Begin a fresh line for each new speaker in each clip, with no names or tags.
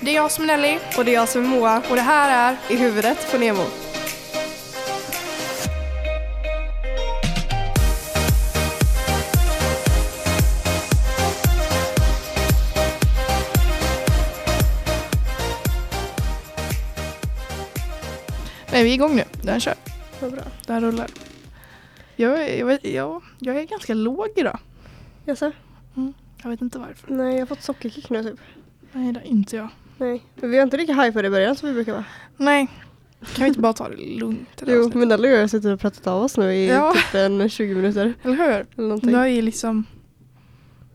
Det är jag som är Nelly
Och det är jag som är Moa,
och det här är
i huvudet på Nemo.
Nej, vi är igång nu. Den kör.
Vad bra.
Den rullar. Jag, jag, vet, jag, jag är ganska låg idag.
Jaså?
Jag vet inte varför.
Nej, jag har fått sockerkick nu typ.
Nej, det är inte jag.
Nej. Men vi var inte lika high för det i början som vi brukar vara.
Nej. Kan vi inte bara ta det lugnt? i det här
Jo,
avsnittet?
men Nelly och jag har suttit och pratat av oss nu i
Ja.
typ en 20 minuter.
Eller hur?
Eller någonting.
Jag är liksom...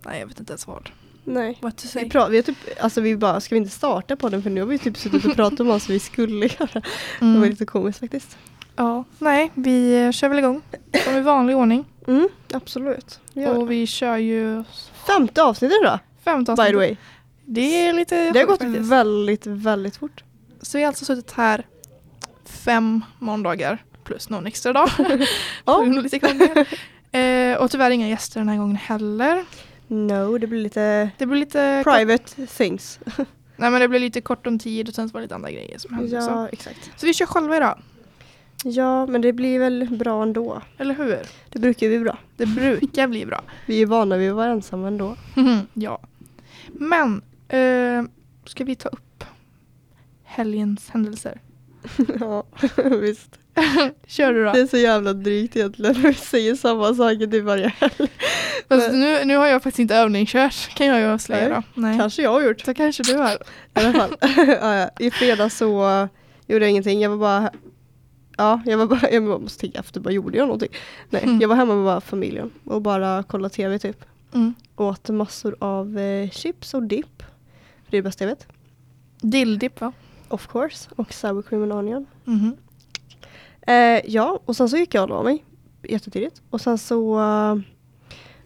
Nej, jag vet inte ens vad.
Nej.
What to
Vi,
say.
pra- vi har typ, alltså vi bara, ska vi inte starta podden för nu har vi typ suttit och pratat om vad vi skulle göra. Det var
Mm.
lite komiskt faktiskt.
Ja, nej, vi eh, kör väl igång. Som i vanlig ordning.
Mm, absolut. Vi gör det.
Och vi kör ju
Femte avsnittet då,
15
by the way.
Det är lite
Det har
sjukt
gått
faktiskt.
väldigt, väldigt fort.
Så vi har alltså suttit här fem måndagar plus någon extra dag.
Ja.
På grund av lite krångel. eh, och tyvärr inga gäster den här gången heller.
No, det blir lite
Det blir lite kort,
private things.
nej, men det blir lite kort om tid och sen så var det lite andra grejer som hände. Så.
exakt.
så vi kör själva idag,
Ja, men det blir väl bra ändå.
eller hur?
Det brukar ju bli bra.
Det brukar bli bra.
Vi är vana vid att vara ensamma ändå.
Mm-hmm. ja. Men, eh, ska vi ta upp helgens händelser?
ja, visst.
Kör du då?
Det är så jävla drygt egentligen när vi säger samma saker till varje helg.
Fast nu, nu har jag faktiskt inte övningskört kan jag ju avslöja
Nej.
då. Nej.
Kanske jag har gjort.
Så kanske du har.
I alla fall. ja, ja. I fredags så gjorde jag ingenting. Jag var bara Ja, jag var bara, jag måste tänka efter, bara gjorde jag någonting? Nej,
Mm.
jag var hemma med bara familjen och bara kollade tv typ.
Mm.
Åt massor av eh, chips och dipp. För det är det bästa jag vet.
Dilldipp va?
Of course. Och sour cream and onion.
Mhm.
Eh, ja, och sen så gick jag och la mig jättetidigt. Och sen så eh,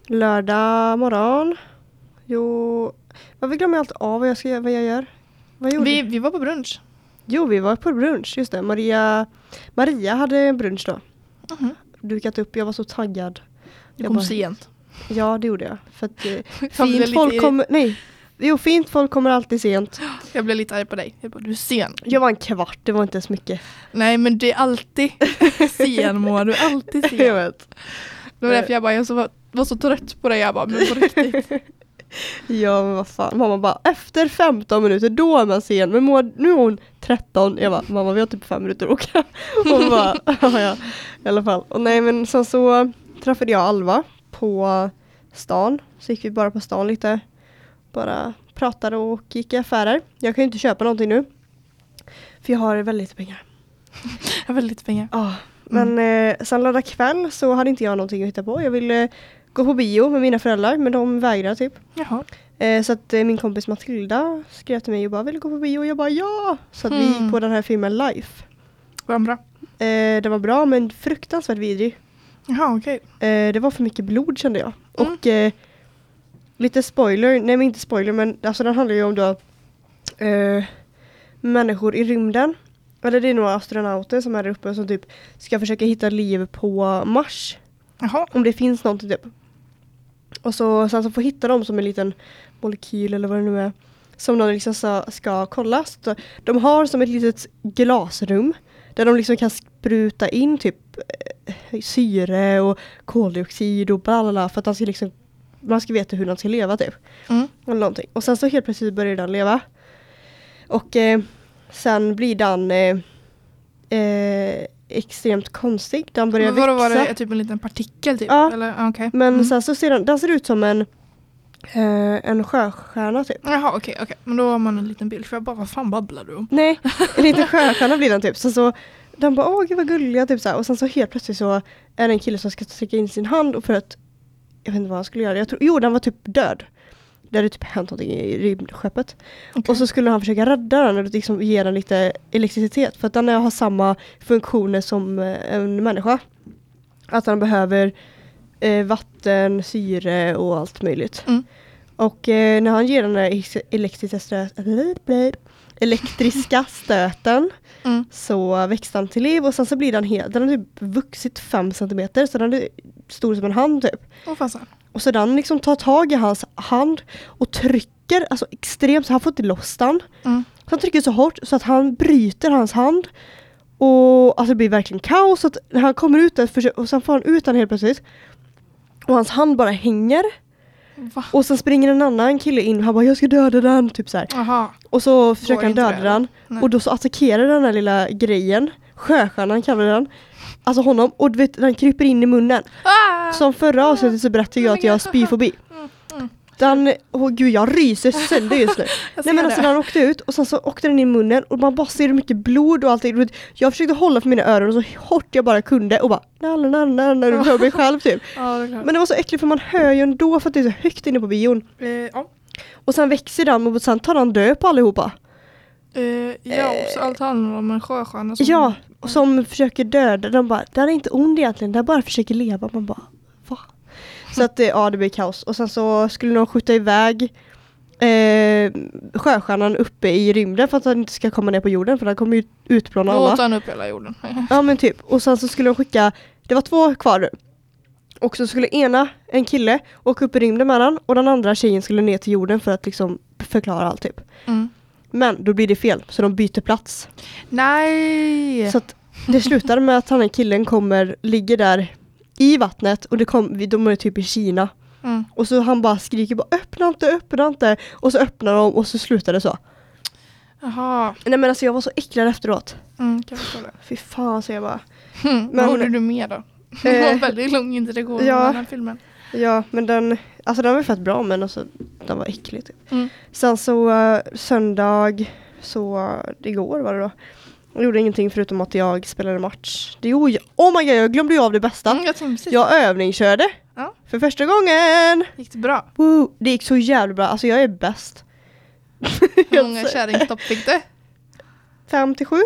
lördag morgon. Jo, varför glömmer jag alltid av vad jag, ska, göra- vad jag gör? Vad gjorde
Vi,
vi?
vi var på brunch.
Jo, vi var på brunch, just det. Maria, Maria hade brunch då.
Mhm.
Dukat upp, jag var så taggad.
Det
Jag
kom
bara-
sent.
Ja, det gjorde jag. För att, eh,
Jag blev,
fint folk
lite,
kommer, nej. Jo, fint folk kommer alltid sent.
jag blev lite arg på dig. Jag bara, du är sen.
Jag var en kvart, det var inte så mycket.
Nej men det är alltid sen Moa, du är alltid sen.
Jag vet.
Det var därför jag bara, jag så, var så trött på dig. Jag bara, men på riktigt.
Ja men vad fan, mamma bara efter 15 minuter då är man sen, men Moa, nu är hon 13. Jag bara mamma vi har typ 5 minuter att åka. Hon bara ja, ja i alla fall. Och nej men sen så träffade jag Alva på stan, så gick vi bara på stan lite. Bara pratade och gick i affärer. Jag kan ju inte köpa någonting nu. För jag har väldigt lite pengar.
Jag har väldigt pengar.
Ja, men eh, sen lördag kväll så hade inte jag någonting att hitta på. Jag ville gå på bio med mina föräldrar men de vägrade typ.
Jaha.
Eh, så att eh, min kompis Matilda skrev till mig och bara vill du gå på bio? Och jag bara ja! Så att vi
Mm.
gick på den här filmen Life.
Var den bra?
Eh, den var bra men fruktansvärt vidrig.
Jaha okej.
Eh, det var för mycket blod kände jag.
Mm.
Och eh, lite spoiler, nej men inte spoiler men alltså den handlar ju om då eh, människor i rymden. Eller det är några astronauter som är där uppe och som typ ska försöka hitta liv på Mars.
Jaha.
Om det finns någonting typ. Och så, sen så får hitta dem som en liten molekyl eller vad det nu är. Som de liksom ska, ska kolla. Så att de har som ett litet glasrum. Där de liksom kan spruta in typ eh, syre och koldioxid och bla bla bla. För att de ska liksom, man ska veta hur de ska leva typ.
Mm.
Eller någonting. Och sen så helt plötsligt börjar den leva. Och eh, sen blir den eh, eh, extremt konstig. Den börjar
Men vadå, var
växa.
det typ en liten partikel typ?
Ja.
Eller, ah, okej.
Men
mm.
sen så ser den, den ser ut som en, eh, en sjöstjärna typ.
Jaha okej, okej. Men då har man en liten bild. För jag bara, vad fan babblar du om?
Nej, det är inte en sjöstjärna blir den typ. Sen så den bara åh gud vad gulliga typ så här. Och sen så helt plötsligt så är det en kille som ska sträcka in sin hand och för att jag vet inte vad han skulle göra. Jag tror, jo den var typ död. Det hade typ hänt någonting i rymdskeppet.
Okej.
Och så skulle han försöka rädda den och liksom ge den lite elektricitet. För att den har samma funktioner som eh, en människa. Att den behöver eh, vatten, syre och allt möjligt.
Mm.
Och eh, när han ger den där ex- elektriska, strö- elektriska stöten
Mm.
så växte han till liv och sen så blir den helt, den har typ vuxit fem centimeter så den är stor som en hand typ.
Åh fasen.
Och så den liksom tar tag i hans hand och trycker alltså extremt så han får inte loss den.
Mm.
Han trycker så hårt så att han bryter hans hand. Och alltså det blir verkligen kaos. Så Att när han kommer ut där försö- och sen får han ut den helt plötsligt. Och hans hand bara hänger.
Va?
Och sen springer en annan kille in och han bara jag ska döda den. Typ så här.
Jaha.
Och så försöker han
inte
döda
det,
den.
Nej.
Och då så attackerar den här lilla grejen. Sjöstjärnan kallar vi den. Alltså honom. Och du vet, den kryper in i munnen.
Ah!
Som förra avsnittet så berättade jag att jag har spyfobi.
Mm,
Den, åh gud jag ryser sönder just nu.
Jag ser
Nej men
det.
alltså den åkte ut och sen så åkte den in i munnen och man bara ser hur mycket blod och allting. Du vet, Jag försökte hålla för mina öron så hårt jag bara kunde och bara när du hör mig själv typ.
Ja, det är klart.
Men det var så äckligt för man hör ju ändå för att det är så högt inne på bion.
Eh, ja.
Och sen växer den och sen tar den död på allihopa.
Eh, ja, och så allt handlar om en sjöstjärna som
Ja, och som försöker döda. De bara, det här är inte ond egentligen, det här bara försöker leva. Man bara, va? Så att eh, ja, det blir kaos. Och sen så skulle de skjuta iväg eh, sjöstjärnan uppe i rymden för att han inte ska komma ner på jorden för han kommer ju utplåna
Då
alla.
åt han upp hela jorden.
Ja men typ. Och sen så skulle de skicka, det var två kvar nu. Och så skulle ena, en kille, åka upp i rymden med den och den andra tjejen skulle ner till jorden för att liksom förklara allt typ.
Mm.
Men då blir det fel, så de byter plats.
Nej!
Så att det slutar med att han den killen kommer, ligger där i vattnet och det kom, vi- de är typ i Kina.
Mm.
Och så han bara skriker bara öppna inte, öppna inte. Och så öppnar de och så slutar det så.
Jaha.
Nej men alltså jag var så äcklad efteråt.
Mm, kan jag förstå det.
Fy fan så jag bara.
Mm.
Men-
Vad gjorde du mer då? Det var
Eh,
en väldigt lång introduktion
ja.
av den här filmen.
Ja men den, alltså den var fett bra men alltså den var äcklig typ.
Mm.
Sen så eh, söndag, så eh, igår var det då. Jag gjorde ingenting förutom att jag spelade match. Det gjorde jag, oh my god jag glömde ju av det bästa.
Mm, jag tänkte precis.
Jag övningskörde.
Ja.
För första gången!
Gick det bra?
Woo! Det gick så jävla bra, alltså jag är bäst.
Hur många kärringstopp fick du?
Fem till sju?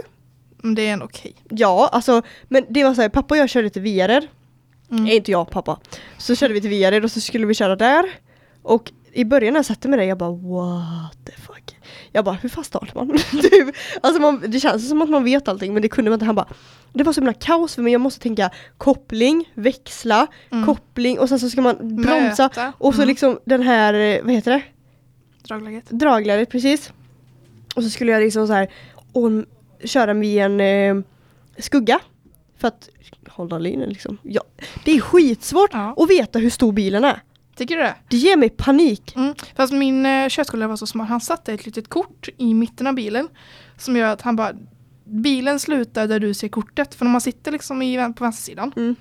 Mm, det är ändå okej.
Ja, alltså men det var så här, pappa och jag körde till Viared.
Mm.
Nej inte jag, pappa. Så körde vi till Viared och så skulle vi köra där. Och i början när jag satte mig där, jag bara what the fuck. Jag bara hur fan startar man? typ. Alltså man, det känns som att man vet allting men det kunde man inte. Han bara det var så himla kaos för mig, jag måste tänka koppling, växla,
Mm.
koppling och sen så ska man bromsa.
Möta.
Och så
Mm.
liksom den här, eh, vad heter det?
Dragläget.
dragläget precis. Och så skulle jag liksom så här om, köra med en eh, skugga. För att hålla linjen liksom. Ja, det är skitsvårt
Ja.
att veta hur stor bilen är.
Tycker du det?
Det ger mig panik.
Mm. Fast min eh, körskola var så smart. Han satte ett litet kort i mitten av bilen. Som gör att han bara... Bilen slutar där du ser kortet. För när man sitter liksom i, vän- på vänstersidan.
Mm.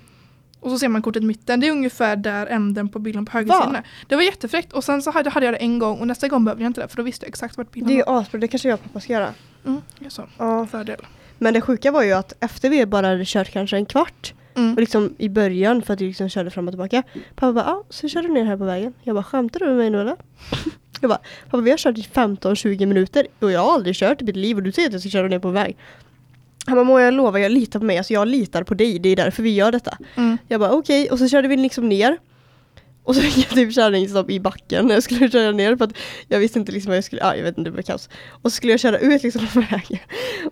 Och så ser man kortet i mitten. Det är ungefär där änden på bilen på
Va?
högersidan är. Det var jättefräckt. Och sen så hade, hade jag det en gång. Och nästa gång behövde jag inte det. För då visste jag exakt vart bilen
Det är ju
var.
asbra, det kanske jag och pappa ska göra.
Mm. det är Så.
Ja.
Fördel.
Men det sjuka var ju att efter vi bara hade kört kanske en kvart. Och
Mm.
liksom i början för att vi liksom körde fram och tillbaka. Pappa bara, ja så kör du ner här på vägen. Jag bara, skämtar du med mig nu eller? Jag bara, pappa vi har kört i 15-20 minuter och jag har aldrig kört i mitt liv och du säger att jag ska köra ner på väg. Han bara, må jag lova, jag litar på mig, alltså jag litar på dig, det är därför vi gör detta.
Mm.
Jag bara okej, och så körde vi liksom ner. Och så fick jag typ kärringstopp i backen när jag skulle köra ner för att jag visste inte liksom vad jag skulle, ja jag vet inte, det blev kaos. Och så skulle jag köra ut liksom på vägen.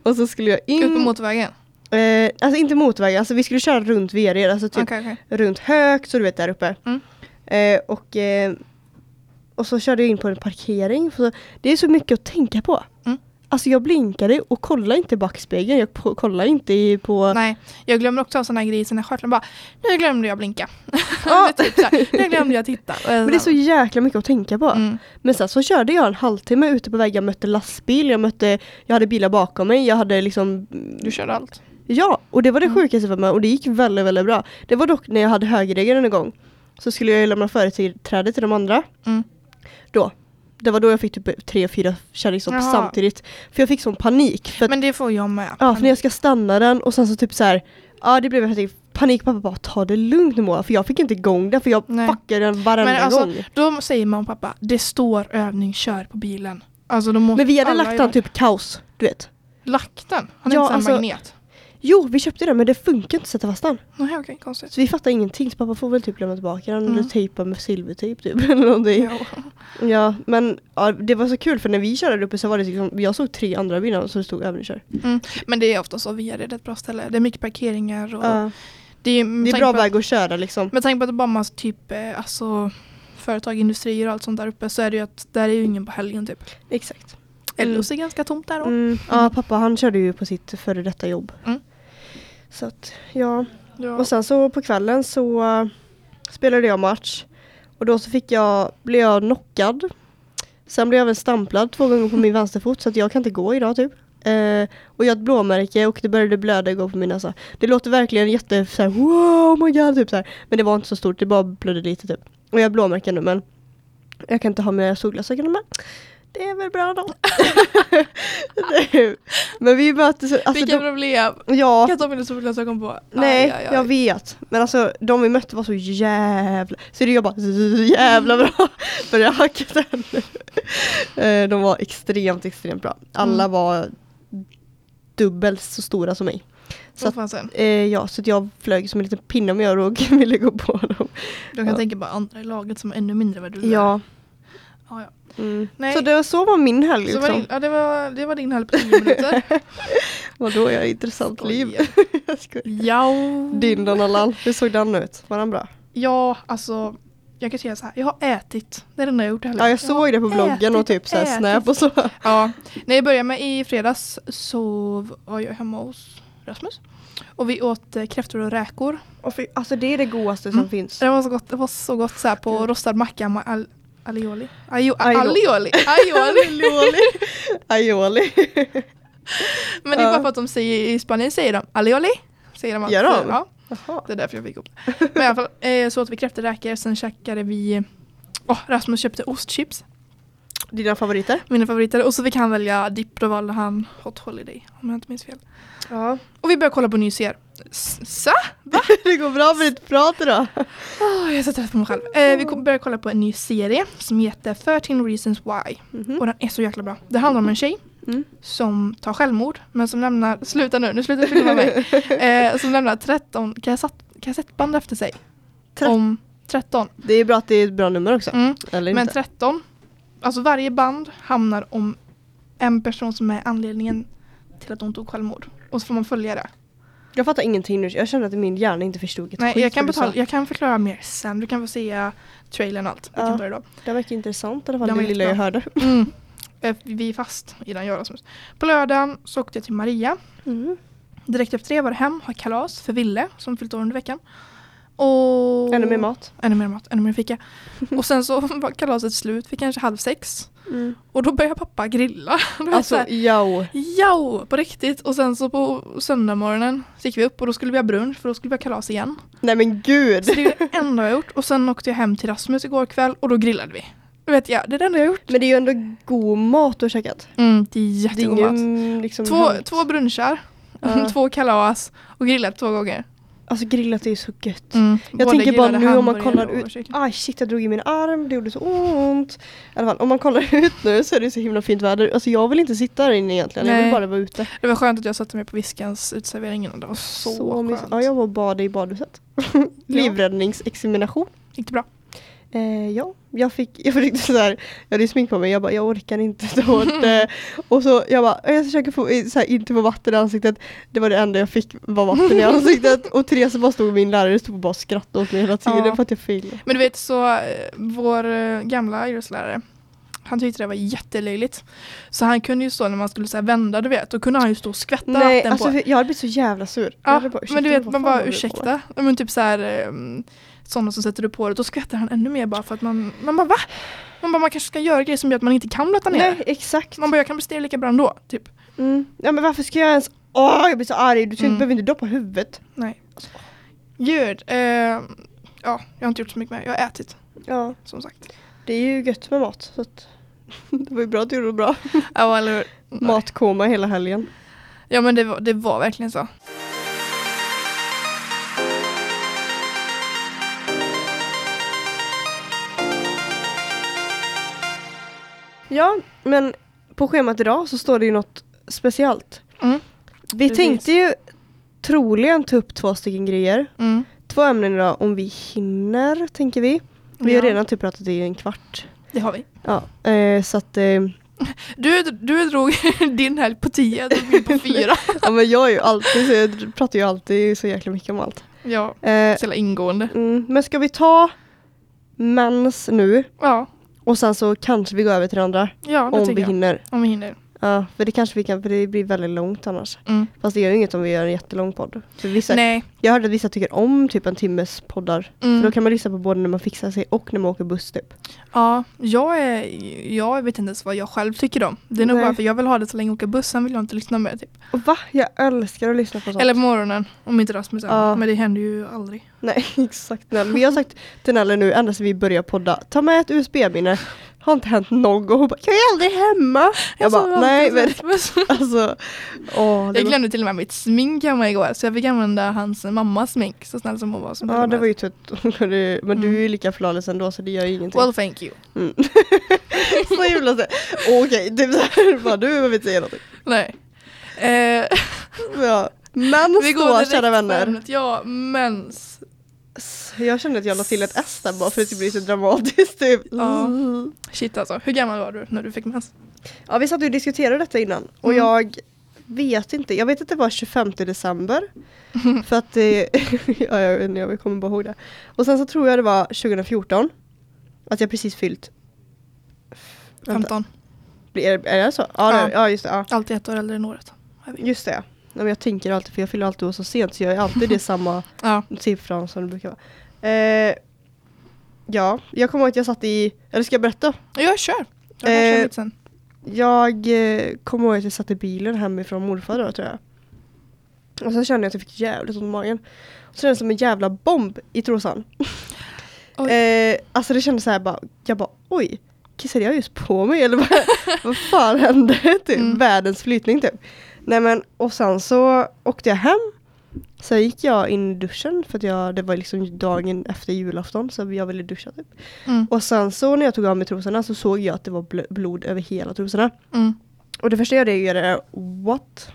Och så skulle jag in,
Ut på motorvägen.
eh, alltså inte motvägen, alltså vi skulle köra runt Vered, alltså typ
Okej, okej.
runt högt så du vet där uppe.
Mm.
Eh, och, eh, och så körde jag in på en parkering. För det är så mycket att tänka på.
Mm.
Alltså jag blinkade och kollade inte i backspegeln. Jag på, kollade inte i, på...
Nej, jag glömmer också av sådana grejer i sina skörtlar. Bara, nu glömde jag blinka.
Ja.
typ så här, nu glömde jag titta.
Men det är så jäkla mycket att tänka på.
Mm.
Men sen så körde jag en halvtimme ute på vägen. Jag mötte lastbil, jag, mötte, jag hade bilar bakom mig. Jag hade liksom...
Du körde allt.
Ja, och det var det
Mm.
sjukaste för mig. Och det gick väldigt, väldigt bra. Det var dock när jag hade högerregeln en gång. Så skulle jag ju lämna företräde till de andra.
Mm.
då. Det var då jag fick typ tre, fyra kärringstopp
Jaha.
samtidigt. För jag fick sån panik. För, att,
Men det får jag med.
ja, för när jag ska stanna den och sen så typ så här. Ja det blev helt panik. Pappa bara ta det lugnt nu Moa. För jag fick inte igång den för jag
Nej.
fuckade den varenda
Men alltså,
gång.
Då säger man pappa, det står övning kör på bilen. Alltså de måste
Men vi hade
alla
lagt
göra-
den typ kaos. Du vet.
Lagt den? Han är
Ja,
inte
alltså-
alltså... magnet.
Jo vi köpte den men det funkar inte att sätta fast den.
Nej okej, konstigt.
Så vi fattade ingenting. Så pappa får väl typ lämna tillbaka den.
Mm.
Eller tejpa med silvertejp typ. Eller någonting.
Jo.
Ja men ja, det var så kul för när vi körde där uppe så var det liksom. Jag såg tre andra bilar som stod övningskör.
Mm. Men det är ofta så, vi är det ett bra ställe. Det är mycket parkeringar och
Ja.
det är, med
Det är
tanke
bra
på att-
väg att köra liksom.
Med tanke på att det bara är massa typ eh, alltså, företag, industrier och allt sånt där uppe så är det ju att där är ju ingen på helgen typ.
Exakt.
Ellos är ganska tomt där då.
Mm. Ja, pappa han körde ju på sitt före detta jobb.
Mm.
Så att, ja.
Ja.
Och sen så på kvällen så eh, spelade jag match. Och då så fick jag, blev jag knockad. Sen blev jag även stamplad två gånger på min vänsterfot så att jag kan inte gå idag typ. Eh, och jag har ett blåmärke och det började blöda igår på min näsa. Det låter verkligen jätte så här, wow, oh my god typ så här. Men det var inte så stort, det bara blödde lite typ. Och jag har blåmärken nu men jag kan inte ha mina solglasögon men det är väl bra då. Det är- men vi möttes, alltså,
Vilka
de,
problem!
ja,
Jag tar mina solglasögon på. Aj,
Nej,
aj, aj.
jag vet. Men alltså de vi mötte var så jävla... Så det jag bara "Zzz, jävla bra. Började hacka den. Eh, de var extremt, extremt bra. Alla
Mm.
var dubbelt så stora som mig.
Så att, sen.
Eh, ja, så att jag flög som en liten pinne om jag och ville gå på dem.
Jag kan
Ja.
tänka på andra i laget som är ännu mindre vad du är.
Ja.
Ja, ja.
Mm.
Nej.
Så det var så var min helg
Så var
liksom.
din, ja, det, var, det var din helg på 10 minuter.
Vadå, jag har intressant liv. Jag skojar.
ja.
Din Donalan, hur såg den ut? Var den bra?
Ja, alltså. Jag kan säga så här. Jag har ätit. Det är det enda jag har gjort i helgen.
Ja, jag såg det på bloggen och typ såhär
ätit.
snap och så.
Ja, när jag började med i fredags så var jag hemma hos Rasmus. Och vi åt eh, kräftor och räkor.
Och fy- Alltså det är det godaste som
Mm.
finns.
Det var så gott, det var så gott så här på rostad macka med al alioli. Ajo,
Aioli.
alioli. Aioli.
Aioli. Aioli.
Men det är
Ja.
bara för att de säger i Spanien säger de alioli. Säger de alltid.
Gör de?
Ja, det är därför jag fick ihop det. Men i alla fall eh, så åt vi kräftor och räkor, sen käkade vi eh, Åh, Rasmus köpte ostchips,
Dina favoriter?
mina favoriter. Och så fick han välja dipp, då valde han Hot Holiday om jag inte minns fel.
Ja.
Och vi började kolla på nyser. S- Så?
Det går bra med ditt prat idag.
Åh, jag är så trött på mig själv. Eh, vi kom- börjar kolla på en ny serie som heter 13 reasons why.
Mm-hmm.
Och den är så jäkla bra. Det handlar om en tjej
Mm.
som tar självmord men som lämnar, sluta nu, nu slutar jag filma mig. Eh, som lämnar 13 kassett, kassettband efter sig.
Trett-
Om 13.
Det är bra att det är ett bra nummer också.
Mm.
Eller
Men
inte.
13, alltså varje band hamnar om en person som är anledningen till att de tog självmord. Och så får man följa det.
Jag fattar ingenting nu. Jag känner att min hjärna inte förstod ett
Nej,
skit
jag, kan
vad du sa.
betala, jag kan förklara mer sen, du kan få se trailern och allt. Vi
Ja.
kan börja då.
Det verkar intressant i alla
Den
fall det
var
lilla jag
jättebra.
hörde.
Mm. Eh, Vi är fast i den jag och Rasmus. På lördagen så åkte jag till Maria.
Mm-hmm.
Direkt efter det var det hem, ha kalas för Ville som fyllt år under veckan. Och...
Ännu mer mat.
Ännu mer mat, ännu mer fika. Och sen så var kalaset slut vid kanske halv sex.
Mm.
Och då började pappa grilla. Du vet så
Alltså
här,
yo.
Jo, på riktigt. Och sen så på söndagmorgonen så gick vi upp och då skulle vi ha brunch för då skulle vi ha kalas igen.
Nej men gud.
Så det är det enda jag har gjort. Och sen åkte jag hem till Rasmus igår kväll och då grillade vi. Du vet, ja, det är det enda jag har gjort.
Men det är ju ändå god mat du har käkat.
Mm, det är
Det
jättegod
är
mat.
ju liksom
Två, två brunchar,
Ja.
två kalas och grillat två gånger.
Alltså grillat är ju så gött.
Både
Mm. Jag tänker bara
grillade
nu om man
hamburgare
kollar
och
ut,
kyckling.
aj shit jag drog i min arm, det gjorde så ont. I alla fall, om man kollar ut nu så är det så himla fint väder. Alltså jag vill inte sitta här inne egentligen, jag
Nej.
vill bara vara ute.
Det var skönt att jag satte mig på Viskans uteservering innan. Det var så, skönt.
mysigt. Ja, jag var och badade i badhuset. Livräddningsexamination.
Gick det bra?
Eh, ja, jag fick, jag fick så här, jag hade ju smink på mig, jag bara jag orkar inte så hårt. Eh, och så jag bara, jag försöker få, i- så här, inte få vatten i ansiktet. Det var det enda jag fick var vatten i ansiktet. Och Therese bara stod, min lärare stod och bara skrattade åt mig hela tiden
Ja.
för att jag failade.
Men du vet så, eh, vår eh, gamla idrottslärare, han tyckte det var jättelöjligt. Så han kunde ju stå när man skulle så här, vända, du vet, då kunde han ju stå och skvätta
Nej,
vatten
alltså,
på.
för jag hade blivit så jävla sur. Jag
Ja,
hade bara,
men du
"Ursäkta,
vet,
vad
man
fan
bara
håller du på med?"
ursäkta. Ja, Men typ så här, ehm, sådana som sätter upp håret, då skvätter han ännu mer bara för att man, man bara va? Man bara, man kanske ska göra grejer som gör att man inte kan blöta ner.
Nej, exakt.
Man bara, jag kan prestera lika bra ändå, typ.
Mm. Ja, men varför ska jag ens... Åh, jag blir så arg. Du ska-
Mm.
behöver inte doppa huvudet.
Nej. Gud, eh, ja, jag har inte gjort så mycket mer. Jag har ätit,
Ja,
som sagt.
det är ju gött med mat. Så att... det var ju bra att du gjorde det bra.
Ja, eller hur? Nej.
Matkoma hela helgen.
Mm. Ja, men det var, det var verkligen så.
Ja, men på schemat idag så står det ju något speciellt.
Mm.
Vi
Precis.
tänkte ju troligen ta upp två stycken grejer.
Mm.
Två ämnen idag om vi hinner, tänker vi. Vi har
Ja.
redan typ pratat i en kvart.
Det har vi.
Ja, eh, så att... Eh,
Du, du drog din helg på tio, jag drog min på fyra.
ja, men jag, är ju alltid, så jag pratar ju alltid så jäkla mycket om allt.
Ja,
Eh,
så jävla ingående.
Mm, men ska vi ta mens nu
Ja,
och sen så kanske vi går över till det andra
ja det
om vi
tycker jag.
hinner.
Om vi hinner.
Ja, för det kanske vi kan, för det blir väldigt långt annars.
Mm.
Fast det gör ju inget om vi gör en jättelång podd. För vissa,
Nej.
jag hörde att vissa tycker om typ en timmes poddar.
Mm.
För då kan man lyssna på både när man fixar sig och när man åker buss typ.
Ja, jag, är, jag vet inte ens vad jag själv tycker om. Det är nog
Nej.
bara för jag vill ha det så länge jag åker buss, sen vill jag inte lyssna mer. Typ.
Och va? Jag älskar att lyssna på sånt.
Eller på morgonen, om inte Rasmus är
Ja.
hemma. Men det händer ju aldrig.
Nej, exakt. Nelly. Men jag har sagt till Nelly nu, ända sedan vi började podda, ta med ett USB-minne. Har inte hänt något. Hon bara, jag är aldrig hemma. Jag
sover
bara,
alltid
nej
så
men
här.
alltså. Åh, det
Jag
var-
glömde till och med mitt smink hemma igår så jag fick använda hans mammas smink så snäll som hon var. Som
Ja, det var ju tur att hon kunde, ju- men du är ju lika flawless ändå så det gör ju ingenting.
Well thank you.
Mm. så himla så. Okej, typ såhär, bara du behöver inte säga någonting.
Nej. Eh,
Ja. Mens då kära vänner.
ämnet. Ja, mens.
S- Jag kände att jag la till ett S där bara för att det blir så dramatiskt typ.
Ja. Shit alltså, hur gammal var du när du fick mens?
Ja vi satt och diskuterade detta innan och
Mm.
jag vet inte, jag vet att det var 25 december. För att det, ja, jag, vet inte, jag kommer bara ihåg det. Och sen så tror jag det var 2014. Att jag precis fyllt. Vänta,
15.
Är, är det så? Ja,
Ja.
Det, ja just det. Ja.
Alltid ett år äldre än året. Jag vet.
Just det. ja. Nej, men jag tänker alltid, för jag fyller alltid år så sent så jag är alltid det samma
Ja.
siffran som det brukar vara. Eh, ja, jag kommer ihåg att jag satt i, eller ska jag berätta?
Jag kör. Jag kan
Eh,
köra lite sen.
Jag eh, kommer ihåg att jag satt i bilen hemifrån morfar då tror jag. Och sen kände jag att jag fick jävligt ont i magen. Och så kändes det som en jävla bomb i trosan.
Oj.
Eh, alltså det kändes så här bara, jag bara oj, kissade jag just på mig eller vad, vad fan hände? Typ,
Mm.
Världens flytning typ. Nej men och sen så åkte jag hem. Sen gick jag in i duschen för att jag, det var liksom dagen efter julafton så jag ville duscha typ.
Mm.
Och sen så när jag tog av mig trosorna så såg jag att det var bl- blod över hela trosorna.
Mm.
Och det första jag reagerade är what?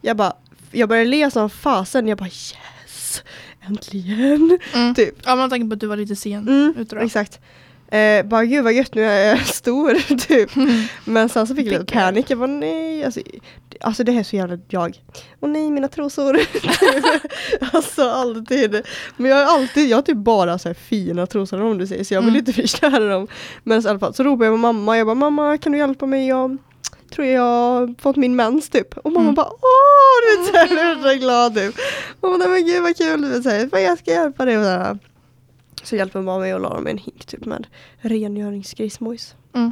Jag bara, jag började le som fasen. Jag bara yes, äntligen.
Mm.
Typ.
Ja, man tänker på att du var lite sen
Mm,
ute då.
exakt. Eh, bara gud vad gött, nu är jag stor typ.
Mm.
Men sen så fick jag lite
Vilken
panik. Jag bara nej, alltså, det- alltså det här är så jävla jag. Och nej mina trosor. alltså alltid. Men jag har alltid, jag har typ bara så här fina trosor om du säger så jag vill
Mm.
inte förstöra dem. Men så i alla fall så ropade jag på mamma. Jag bara mamma kan du hjälpa mig? Jag tror jag har fått min mens typ. Och mamma
Mm.
bara åh, du vet såhär, du vet, så glad typ. Och hon bara men gud vad kul, du vet såhär, "Fan, jag ska hjälpa dig. Och så här. Så hjälper mamma mig och la dem i en hink typ med rengöringsgrismojs.
Mm.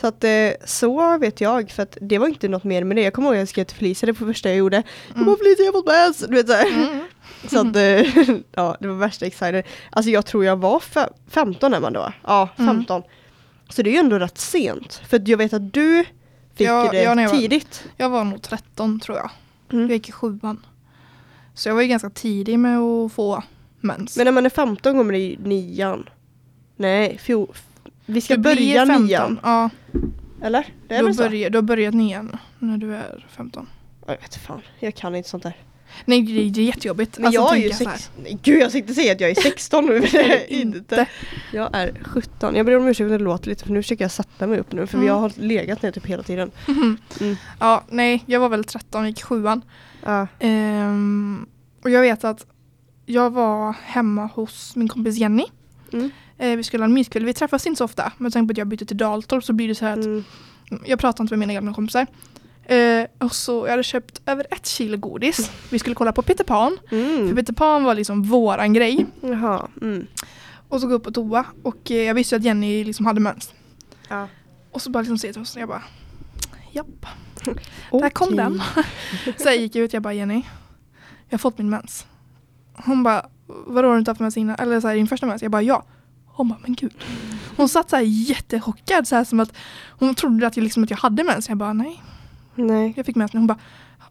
Så att eh, så vet jag, för att det var inte något mer med det. Jag kommer ihåg att jag skrev till Felicia, det var det första jag gjorde. Jag bara Felicia, jag har fått mens! Du vet så här.
Mm.
Så att, eh, ja, det var värsta excited. Alltså jag tror jag var fe- 15 när man då. Ja,
Mm.
15. Så det är ju ändå rätt sent. För att jag vet att du fick
Ja,
det
ja, när jag var-
tidigt.
Jag var nog 13 tror jag.
Mm.
Jag gick i sjuan. Så jag var ju ganska tidig med att få mens.
Men när man är 15 kommer det i nian. Nej, fjol. Vi ska
Du blir
börja
15.
nian.
Ja,
Eller? Det är
du,
väl så?
börjar, du har börjat nian när du är 15.
Ja, Jag vet fan, jag kan inte sånt där.
Alltså, Nej, det, det är jättejobbigt.
Men
Alltså,
jag är
tänka
ju
så här.
sex... Nej, Gud jag tänkte säga att jag är 16 nu men det är jag
Inte.
inte. Jag är 17. Jag ber om ursäkt om det låter lite för nu försöker jag sätta mig upp nu för
Mm.
jag har legat ner typ hela tiden. Mm.
Ja, nej, jag var väl 13, gick sjuan.
Ja.
Ehm, och jag vet att jag var hemma hos min kompis Jenny.
Mm.
Eh, vi skulle ha en myskväll. Vi träffas inte så ofta. Men sen på att jag bytte till Daltorp så blir det så här att
Mm.
jag pratar inte med mina gamla kompisar. Eh, och så jag hade köpt över ett kilo godis. Vi skulle kolla på Peter Pan. För
Mm.
Peter Pan var liksom våran grej.
Jaha. Mm.
Och så går jag upp på toa och eh, jag visste ju att Jenny liksom hade mens.
Ja.
Och så bara liksom säger jag till oss, jag bara Japp, där kom den. så jag gick ut, jag bara Jenny, jag har fått min mens. Hon bara, vadå har du inte haft mens innan? Eller så här, din första mens? Jag bara ja. Hon bara, men gud. Hon satt så här jättechockad, så här som att hon trodde att jag, liksom, att jag hade mens. Jag bara nej,
Nej.
jag fick mens nu. Hon bara,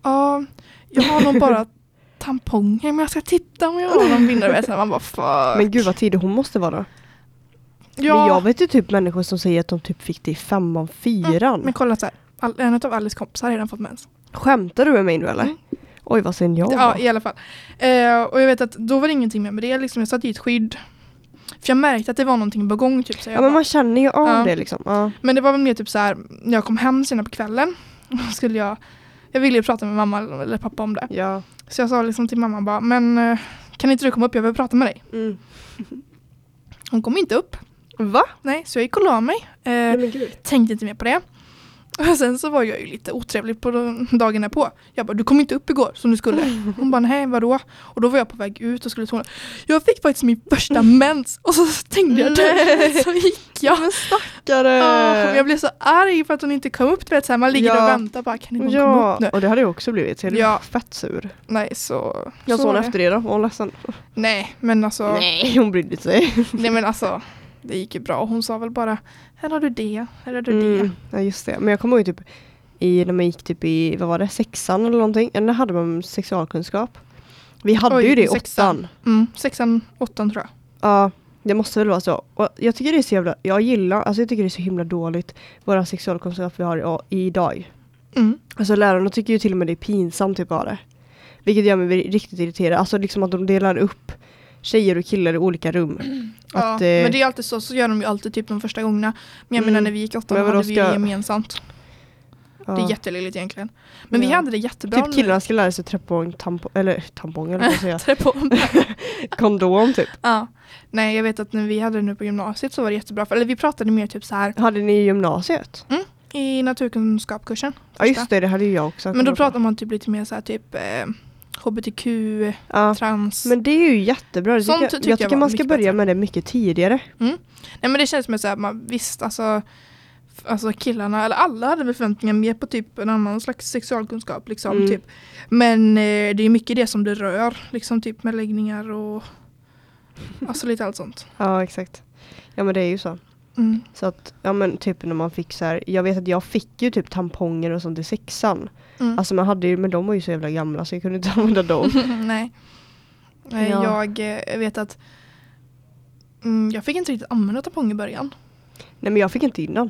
ja, jag har nog bara tamponger men jag ska titta om jag har någon vinnare. Man bara fuck.
Men gud vad tidig hon måste vara.
ja.
Men jag vet ju typ människor som säger att de typ fick det i femman, fyran.
Men kolla så här, all, en av Alice kompisar har redan fått mens.
Skämtar du med mig nu eller?
Mm.
Oj vad sen jag
Ja,
var.
i alla fall. Eh, och jag vet att då var det ingenting mer med det. Liksom, jag satte i ett skydd. För jag märkte att det var någonting på gång. Typ, så jag
Ja
bara,
men man känner ju av
Ja.
det liksom. Ja.
men det var väl mer typ så här, när jag kom hem senare på kvällen. då Skulle jag, jag ville ju prata med mamma eller pappa om det.
ja.
Så jag sa liksom till mamma bara, men eh, kan inte du komma upp? Jag vill prata med dig.
Mm.
Hon kom inte upp.
Va?
Nej, så jag gick och la mig. Eh,
men gud.
tänkte inte mer på det. Och sen så var jag ju lite otrevlig på de- dagarna på. Jag bara, du kom inte upp igår som du skulle. Hon bara, nej vadå? Och då var jag på väg ut och skulle tona. Jag fick faktiskt min första mens och så tänkte jag
Nej.
det. Så gick jag.
Men stackare!
Ah, men jag blev så arg för att hon inte kom upp. Du vet, så här, man ligger
Ja.
och väntar bara, kan inte hon komma
ja,
upp nu?
och det hade jag också blivit. Så jag blev
Ja.
fett sur.
Nej, så... så
Jag såg
var
hon
det.
efter det då, var hon ledsen?
Nej, men alltså. Nej.
Nej, hon brydde sig.
men alltså. Det gick ju bra. Hon sa väl bara, här har du det, här har du det.
Mm. Ja, just det. Men jag kommer ihåg typ i, när man gick typ i, vad var det, sexan eller någonting? Eller när hade man sexualkunskap? Vi hade
Oj,
ju det i
sexan.
åttan.
Mm, sexan, åttan tror jag.
Ja, det måste väl vara så. Och jag tycker det är så jävla, jag gillar, alltså jag tycker det är så himla dåligt våra sexualkunskap vi har i, i idag.
Mm.
Alltså lärarna tycker ju till och med det är pinsamt typ av det. Vilket gör mig riktigt irriterad. Alltså liksom att de delar upp tjejer och killar i olika rum.
Ja,
Att, eh,
men det är alltid så, så gör de ju alltid typ de första gångerna. Men jag
Mm.
menar när vi gick i åttan
Men vadå,
hade vi
ska-
det gemensamt.
ja.
Det är jättelilligt egentligen. Men vi
Ja.
hade det jättebra.
Typ killarna ska lära sig tampong, tampong eller tampong eller vad ska jag säga,
på.
kondom typ.
ja. Nej, jag vet att när vi hade det nu på gymnasiet så var det jättebra. För, eller vi pratade mer typ så här
Hade ni i gymnasiet?
i naturkunskapkursen.
Ja just det, det hade ju jag också.
Men då
kommit på.
pratar man typ lite mer så här typ eh, HBTQ,
ja.
trans.
Men det är ju jättebra. Det
Sånt
tycker jag,
tycker
jag
jag
tycker
var
man ska
mycket
börja
bättre.
med det mycket tidigare.
Nej men det känns som att så här, man, visst alltså, f- alltså killarna, eller alla hade väl förväntningar mer på typ en annan slags sexualkunskap liksom
Mm.
typ. Men eh, det är mycket det som det rör, liksom typ med läggningar och alltså lite allt sånt.
Ja exakt. Ja men det är ju så.
Mm.
Så att, ja men typ när man fick så här, jag vet att jag fick ju typ tamponger och sånt i sexan.
Mm.
Alltså man hade ju, men de var ju så jävla gamla så jag kunde inte använda dem.
Nej. Nej,
Ja.
Jag eh, vet att mm, jag fick inte riktigt använda tampong i början.
Nej men jag fick inte innan.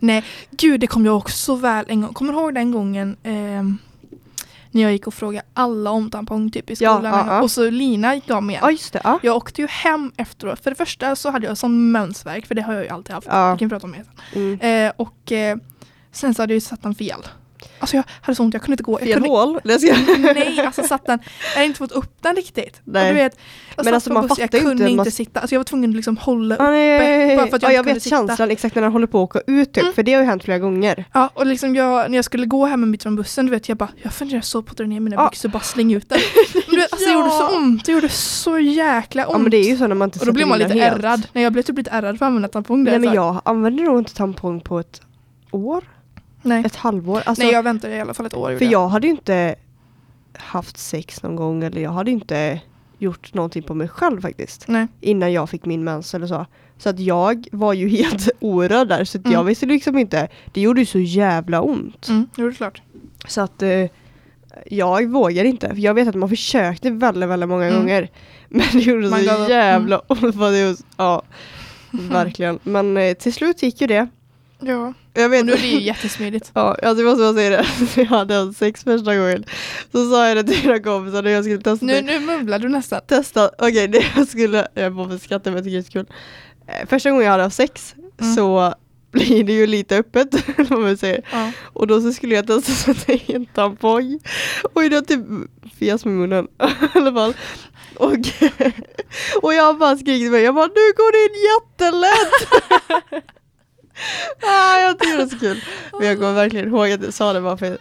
Nej, gud det kom jag också så väl en gång. Kommer du ihåg den gången ehm, när jag gick och frågade alla om tampong typ i
Ja,
skolan?
ja, ja.
Och så Lina gick av med en.
Ja just det, ja.
Jag åkte ju hem efteråt. För det första så hade jag sån mensvärk, för det har jag ju alltid haft.
Ja.
Jag kan prata om det sen.
Mm.
Eh, och eh, sen så hade jag ju satt den fel. Alltså jag hade så ont, jag kunde inte gå. Jag
Fel
kunde,
hål? Nej, jag skojar.
Nej, alltså satt den. Jag hade inte fått upp den riktigt.
Nej.
Och du vet, jag
Men
satt
alltså,
på
man
bussen,
fattar ju
Jag kunde
inte,
inte,
man-
sitta. Alltså jag var tvungen att liksom hålla
Ja,
upp.
nej.
bara för att jag inte
ja, jag
kunde
vet
sitta.
känslan exakt när den håller på att åka ut typ,
Mm.
för det har ju hänt flera gånger.
Ja, och liksom jag, när jag skulle gå hem med mitt från bussen, du vet, jag bara, jag funderar så på att dra ner mina
Ja.
byxor och bara slänga ut den. Men Du vet, alltså det gjorde så ont, det gjorde så jäkla ont.
Ja men det är ju så när man inte
och då
sätter
blir man
in den
lite
helt.
ärrad. Nej, jag blev typ lite ärrad för att använda tampong där.
Nej men
så här.
jag använde nog inte tampong på ett år,
Nej.
ett halvår. Alltså,
Nej jag väntade i alla fall ett år.
för
gjorde
jag hade ju inte haft sex någon gång eller jag hade inte gjort någonting på mig själv faktiskt.
Nej.
Innan jag fick min mens eller så. Så att jag var ju helt orörd där så att jag
Mm.
visste liksom inte. Det gjorde ju så jävla ont.
Mm, jo, det är klart.
Så att eh, jag vågar inte. För jag vet att man försökte väldigt, väldigt många
Mm.
gånger. Men det gjorde
Man gav
så
upp. Mm.
jävla ont. vad det gjorde- Ja, verkligen. Men eh, till slut gick ju det.
Ja.
Jag vet
Och nu är det ju jättesmidigt.
Ja, alltså jag måste bara säga det. Jag hade haft sex första gången. Så sa jag det till mina kompisar när jag skulle testa.
Nu,
det.
nu mumlar du nästan.
Testa, okej det jag skulle, jag bara skrattar men jag tycker det är så kul. Eh, Första gången jag hade haft sex
Mm.
så blir det ju lite öppet. om man säger.
Ja.
Och då så skulle jag testa att sätta i en tampong. Och jag typ fes med munnen. I alla fall. Och, och jag bara skrek till mig. Jag bara, nu går det in jättelätt. ah, jag tycker det är så kul. Men jag kommer verkligen ihåg att jag sa det bara för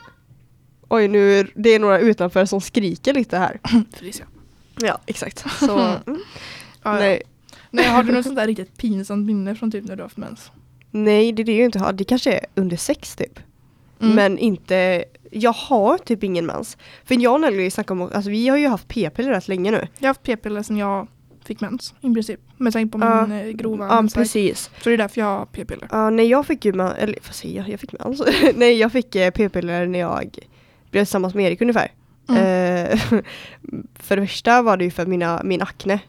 Oj, nu är det är några utanför som skriker lite här.
Fryser jag.
Ja, exakt. Så, mm.
Mm, Ja, ja.
nej.
Nej, har du något sånt där riktigt pinsamt minne från typ när du har haft mens?
Mm. nej, det är det ju inte. Det kanske är under sex typ.
Mm.
Men inte, jag har typ ingen mens. För jag och Nelly snackar om, alltså vi har ju haft p-piller rätt länge nu.
Jag har haft p-piller sedan jag fick mens i princip. Med tanke på
Ja.
min eh, grova
Ja,
mensvärk.
precis.
Så det är därför jag har p-piller.
Ja, nej jag fick ju mens, eller vad säger jag, jag fick mens. nej jag fick eh, p-piller när jag blev tillsammans med Erik ungefär.
Mm.
Eh, för det första var det ju för mina, min akne.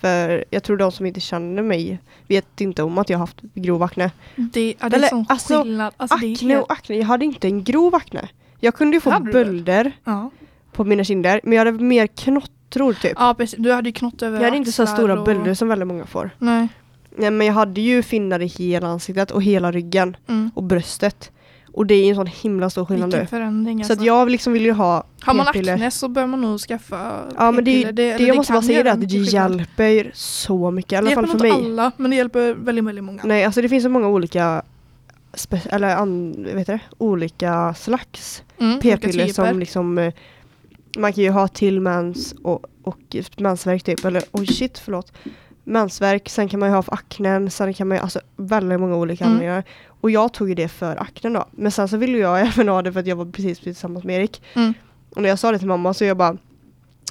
För jag tror de som inte känner mig vet inte om att jag har haft grov akne.
Det, ja, det är
eller,
sån
alltså,
skillnad. Alltså, det är
akne och akne, jag hade inte en grov akne. Jag kunde ju få
Hade du det?
bölder
ja.
på mina kinder, men jag hade mer knottror typ.
ja, precis. Du hade ju knott över
Jag hade inte så
axlar
stora
och...
bölder som väldigt många får.
Nej.
Nej, men jag hade ju finnar i hela ansiktet och hela ryggen
Mm.
och bröstet. Och det är ju en sån himla stor skillnad nu.
Vilken förändring
Så
alltså.
att jag liksom vill ju ha
Har man
p-piller.
akne så bör man nog skaffa
E. Ja men det,
p-piller.
det, det,
E. eller
jag måste
kan
bara säga
göra
det att det
mycket skillnad.
hjälper ju så mycket, i alla fall för
Det hjälper
mig.
nog inte alla, men det hjälper väldigt, väldigt många.
Nej alltså det finns så många olika spe- eller an, vet du, det? olika slags
Mm,
p-piller
olika typer.
som liksom eh, man kan ju ha till mens och, och mensvärk typ, eller oj shit förlåt. Mensvärk, sen kan man ju ha för aknen, sen kan man ju, alltså väldigt många olika
Mm.
anledningar. Och jag tog ju det för aknen då. Men sen så ville jag även ha det för att jag var precis tillsammans med Erik.
Mm.
Och när jag sa det till mamma så jag bara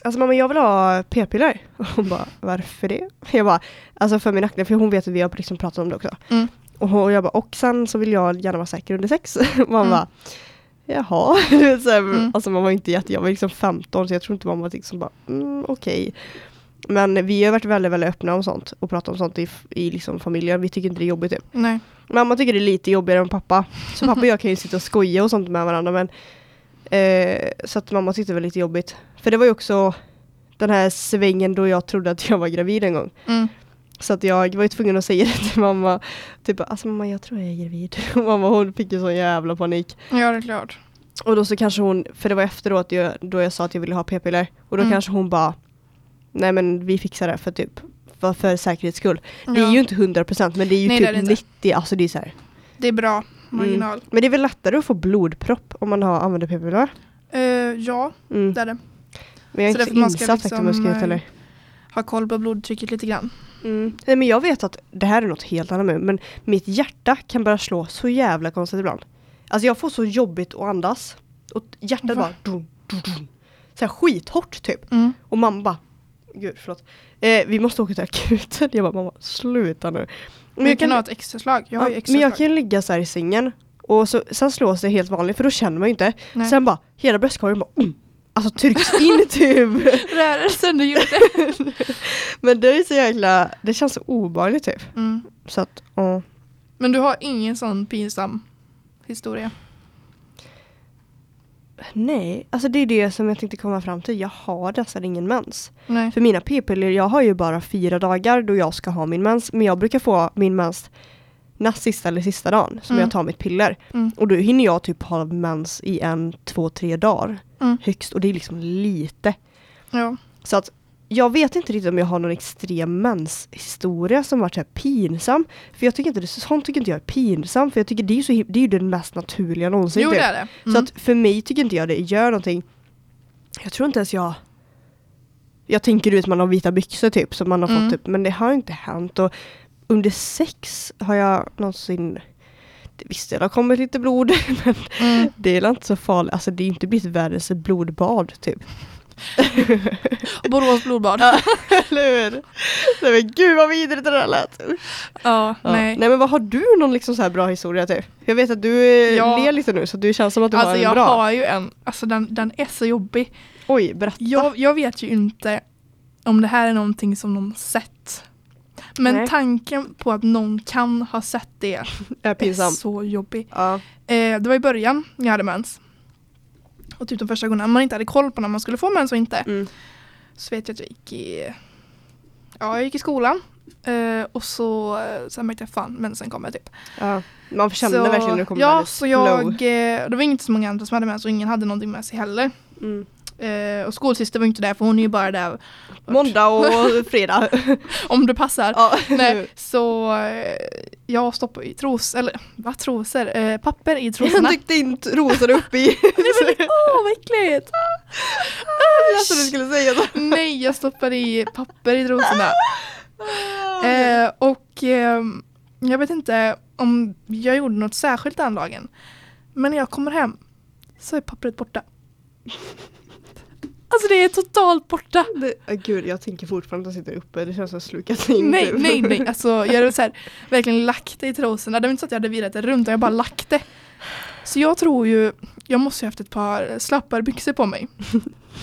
Alltså mamma jag vill ha p-piller. Och hon bara varför det? Jag bara alltså för min akne för hon vet att vi har liksom pratat om det också.
Mm.
Och hon- och jag bara och sen så vill jag gärna vara säker under sex. Mamma
Mm.
bara jaha. Du vet, så här,
Mm.
Alltså man var inte jätte, jag var liksom 15 så jag tror inte mamma var liksom bara mm, okej. Men vi har varit väldigt väldigt öppna om sånt och pratat om sånt i, f- i liksom familjen. Vi tycker inte det är jobbigt typ.
Nej.
Mamma tycker det är lite jobbigare än pappa. Så pappa och jag kan ju sitta och skoja och sånt med varandra. Men, eh, så att mamma tyckte det var lite jobbigt. För det var ju också den här svängen då jag trodde att jag var gravid en gång.
Mm.
Så att jag var ju tvungen att säga det till mamma. Typ alltså mamma jag tror jag är gravid. Och mamma hon fick ju sån jävla panik.
Ja, det är klart.
Och då så kanske hon, för det var efteråt jag, då jag sa att jag ville ha p-piller. Och då
Mm.
kanske hon bara Nej men vi fixar det för typ för, för säkerhets skull.
Ja.
Det är ju inte 100% men det är ju
Nej, det är det
typ
inte.
90, alltså det är så här
det är bra.
Mm.
Marginal.
men det är väl lättare att få blodpropp om man har, använder p-piller?
Eh, ja,
Mm.
det är det.
Men jag
Så
är
det är
inte så
för man ska
insatt faktiskt om jag
liksom,
ska vara helt ärlig.
Ha koll på blodtrycket lite grann.
Mm. Nej men jag vet att det här är något helt annat med, men mitt hjärta kan börja slå så jävla konstigt ibland. Alltså jag får så jobbigt att andas. Och hjärtat
Va?
bara dun, dun, dun. Så här skithårt typ.
Mm.
Och mamma bara, gud förlåt. Eh, vi måste åka till akuten. Jag bara mamma sluta nu.
Men jag kan ha ett extra slag. Jag har ju
Ja,
extra
men jag
slag.
kan ju ligga så här i sängen och så, sen slås det helt vanligt för då känner man ju inte.
Nej.
Sen bara hela bröstkorgen bara mm, alltså trycks in typ.
Rörelsen du gjorde.
Men det är så jäkla, det känns så obehagligt typ.
Mm.
Så att, ja.
Men du har ingen sån pinsam historia?
Nej, alltså det är det som jag tänkte komma fram till. Jag har nästan ingen mens.
Nej.
För mina p-piller, jag har ju bara fyra dagar då jag ska ha min mens. Men jag brukar få min mens näst sista eller sista dagen som
Mm.
jag tar mitt piller.
Mm.
Och då hinner jag typ ha mens i en, två, tre dagar
Mm.
högst. Och det är liksom lite.
Ja.
Så att jag vet inte riktigt om jag har någon extrem menshistoria som varit så här pinsam. För jag tycker inte det, sånt tycker inte jag är pinsam. För jag tycker det är ju, så, hi- det är ju den mest naturliga någonsin.
Jo,
typ.
det är det.
Så
Mm.
att för mig tycker inte jag det gör någonting. Jag tror inte ens jag... Jag tänker ut att man har vita byxor typ. Som man har
Mm.
fått typ. Men det har inte hänt. Och under sex har jag någonsin... Visst, det har kommit lite blod. Men
Mm.
det är väl inte så farligt. Alltså det är ju inte blivit världens blodbad typ.
Borås blodbad.
Ja. Eller hur? Nej men gud vad vidrigt det där lät. Usch.
Ja,
Ja.
nej.
Nej men vad har du någon liksom så här bra historia typ? Jag vet att du
Ja.
ja. ler lite nu så du känns som att du
Alltså
har en
jag
bra.
har ju en, alltså den, den är så jobbig.
Oj, berätta.
Jag, jag vet ju inte om det här är någonting som någon sett. Men
Nej.
tanken på att någon kan ha sett det
är
är
pinsam.
så jobbig.
Ja.
Eh, det var i början jag hade mens. Och typ de första gångerna man inte hade koll på när man skulle få mens och inte.
Mm.
Så vet jag att jag gick i, ja, jag gick i skolan. Eh, och så eh, sen märkte jag fan mensen kommer typ.
ja. Man känner
så,
verkligen när det kommer
Ja,
väldigt
så jag,
flow.
eh, det var inte så många andra som hade mens och ingen hade någonting med sig heller.
Mm.
Eh, och skolsyster var inte där för hon är ju bara där
Måndag och fredag.
om det passar.
ja.
Nej, så eh, jag stoppade i tros, eller vad trosor? Eh, papper i trosorna.
Jag tryckte in rosorna upp i.
Nej, men det- Åh vad äckligt!
jag trodde du skulle säga så.
Nej, jag stoppade i papper i trosorna. Eh, och ehm, jag vet inte om jag gjorde något särskilt den dagen. Men när jag kommer hem så är pappret borta. Alltså det är totalt borta.
Det, ah, gud, jag tänker fortfarande att jag sitter uppe. Det känns som att jag slukat in.
Nej,
typ.
nej, nej. Alltså jag hade så här, verkligen lagt det i trosorna. Det var inte så att jag hade virat det runt, utan jag bara lagt det. Så jag tror ju, jag måste ju haft ett par slapparbyxor på mig.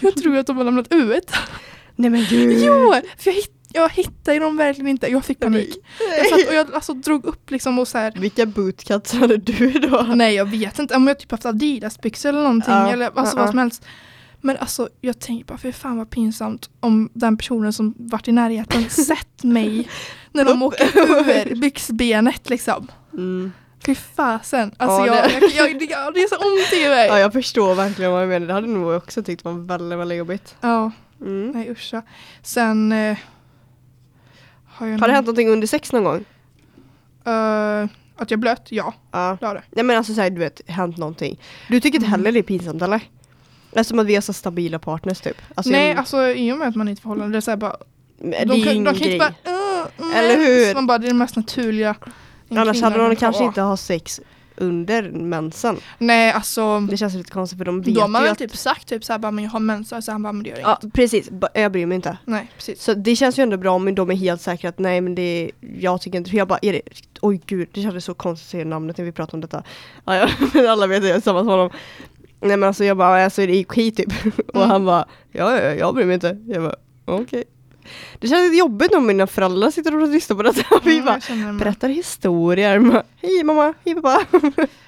Jag tror att de har lämnat ut.
Nej men gud.
Jo, för jag, hitt, jag hittade ju dem verkligen inte. Jag fick panik. Jag satt och jag alltså, drog upp liksom och så här.
Vilka bootcuts hade du då?
Nej jag vet inte, om jag typ haft Adidas-byxor eller någonting
Ja,
eller alltså
ja,
vad
ja.
som helst. Men alltså jag tänker bara för fan vad pinsamt om den personen som varit i närheten sett mig när de åker över byxbenet liksom.
Mm.
Fy fasen. Alltså
Ja,
jag,
det-
jag, jag, det gör- det är så ont i mig.
Ja, jag förstår verkligen vad du menar. Det hade nog jag också tyckt var väldigt, väldigt jobbigt.
Ja,
Mm.
nej usch. ja. Sen eh, har jag
Har det
någon-
hänt någonting under sex någon gång?
Eh, Att jag blöt? Ja,
Ja. Mm.
det har det.
Nej men alltså såhär, du vet, hänt någonting. Du tycker inte heller det är pinsamt eller? Eftersom att vi är så stabila partners typ. Alltså,
Nej,
jag,
alltså i och med att man är i ett förhållande, det är såhär bara...
det
Eh, De
är ju
kan,
ingen
de kan
grej.
inte bara... "Åh, mm,
Eller hur?
Så man bara, det är det mest naturliga. en
Annars
kvinna
hade de
kan
kanske
ha.
inte ha sex under mensen.
Nej, alltså...
Det känns lite konstigt för de vet
Då har man
ju
väl
att...
typ sagt typ såhär bara, men jag har mens. Så han bara, men det gör inget.
Ja precis, Ba- jag bryr mig inte.
Nej, precis.
Så det känns ju ändå bra om de är helt säkra att nej men det är, jag tycker inte, jag bara är det, oj gud det kändes så konstigt att säga namnet när vi pratade om detta. Ja, ja, men alla vet att jag är tillsammans med honom. Nej men alltså jag bara, alltså är det okej typ? Och
Mm.
han bara, ja, ja jag bryr mig inte. Jag bara, okej. Det känns lite jobbigt om mina föräldrar sitter och lyssnar på detta. Vi
Mm,
bara,
jag känner det med.
berättar historier. Man bara, Hej mamma, hej pappa.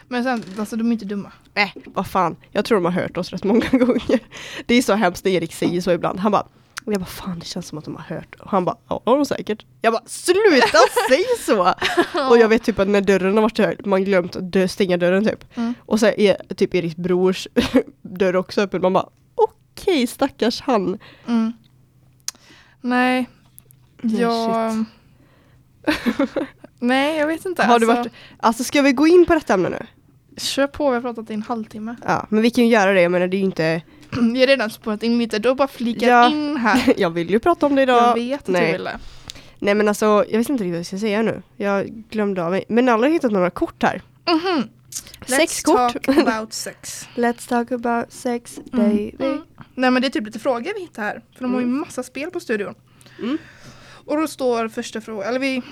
Men sen, alltså de är inte dumma.
Nej, "Äh, vad fan. Jag tror de har hört oss rätt många gånger. Det är så hemskt när Erik säger så ibland. Han bara, och jag bara fan det känns som att de har hört. Och han bara, ja det har de säkert. Jag bara, sluta säg så! Och jag vet typ att när dörren har varit så här, man glömt att dö, stänga dörren typ.
Mm.
Och så är typ Eriks brors dörr också öppen. Man bara, okej stackars han.
Mm. Nej,
Nej,
jag... Nej, jag vet inte.
Har du
Alltså,
varit, alltså ska vi gå in på detta ämne nu?
Kör på, vi har pratat i en halvtimme.
Ja, men vi kan ju göra det. Jag menar det är ju inte,
Vi har redan spårat in lite, du har bara flikat
Ja.
in här.
jag vill ju prata om det idag.
Jag vet att
Nej.
du ville.
Nej men alltså, jag vet inte riktigt vad jag ska säga nu. Jag glömde av mig. Men alla har hittat några kort här.
Mhm. Let's
sex kort.
talk about sex.
Let's talk about sex
Mm. Mm. Nej men det är typ lite frågor vi hittar här. För de har ju massa spel på studion.
Mm.
Och då står första frågan, eller vi...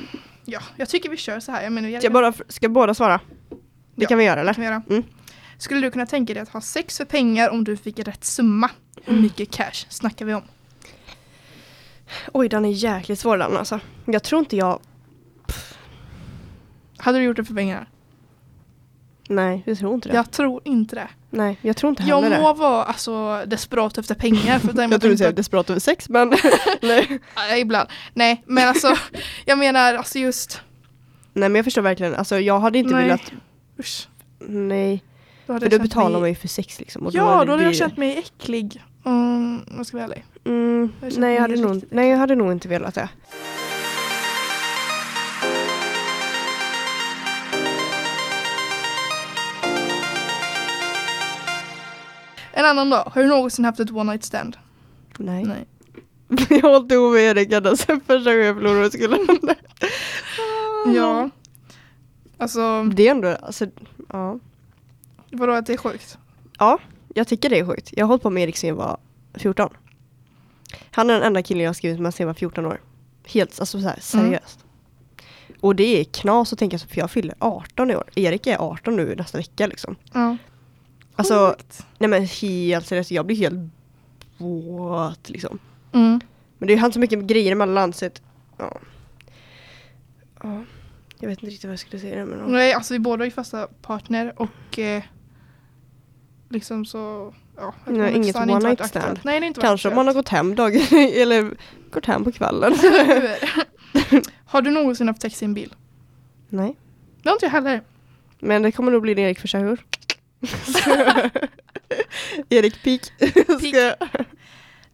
Ja, jag tycker vi kör så här. Jag menar,
Ska, bara, ska båda svara? Det
Ja.
kan vi göra
kan
eller?
vi göra.
Mm.
Skulle du kunna tänka dig att ha sex för pengar om du fick rätt summa? Hur mycket cash snackar vi om?
Oj den är jäkligt svår den alltså. Jag tror inte jag...
Hade du gjort det för pengar?
Nej, jag tror inte det.
Jag tror inte det.
Nej, jag tror inte
Jag
heller
må vara alltså, desperat efter pengar. För
det. Jag tror du säger desperat över sex men... Nej.
Nej, ibland. Nej, men alltså jag menar alltså just
Nej men jag förstår verkligen. Alltså jag hade inte
Nej.
velat...
usch.
Nej.
Då hade
För
jag
då
känt
betalar man
mig...
ju för sex liksom. och
Ja, då hade jag
det-
känt mig äcklig. Mm, om jag ska vara ärlig.
Mm,
Jag känner
nej, jag
mig
hade nog,
riktigt
nej, jag hade nog inte velat det.
En annan dag, har du någonsin haft ett one night stand?
Nej. jag har hållit ihop med Erik ända sedan alltså, första gången jag förlorade skulden. Mm.
Ja. Alltså,
Det är ändå, alltså, ja.
vadå att det är sjukt?
Ja, jag tycker det är sjukt. Jag har hållit på med Erik sedan jag var 14. Han är den enda killen jag har skrivit med sedan jag var 14 år. Helt alltså så här,
Mm.
seriöst. Och det är knas att tänka så, för jag fyller 18 i år. Erik är 18 nu nästa vecka liksom.
Ja.
Alltså,
Sjukt.
nej men helt seriöst, jag blir helt what liksom.
Mm.
Men det har hänt så mycket grejer emellan så att, ja. ja. Jag vet inte riktigt vad jag skulle säga men ja.
Nej, alltså vi båda är ju fasta partner och eh, liksom så... Ja, ett
Nej, inget
har inte
one
varit
night stand.
aktuellt. Nej, det är inte varit
Kanske om man har
aktuellt.
gått hem dag eller gått hem på kvällen.
Har du någonsin haft sex i en bil?
nej.
Det har inte jag heller.
Men det kommer nog bli en Erik för sig, hur? Erik Pik.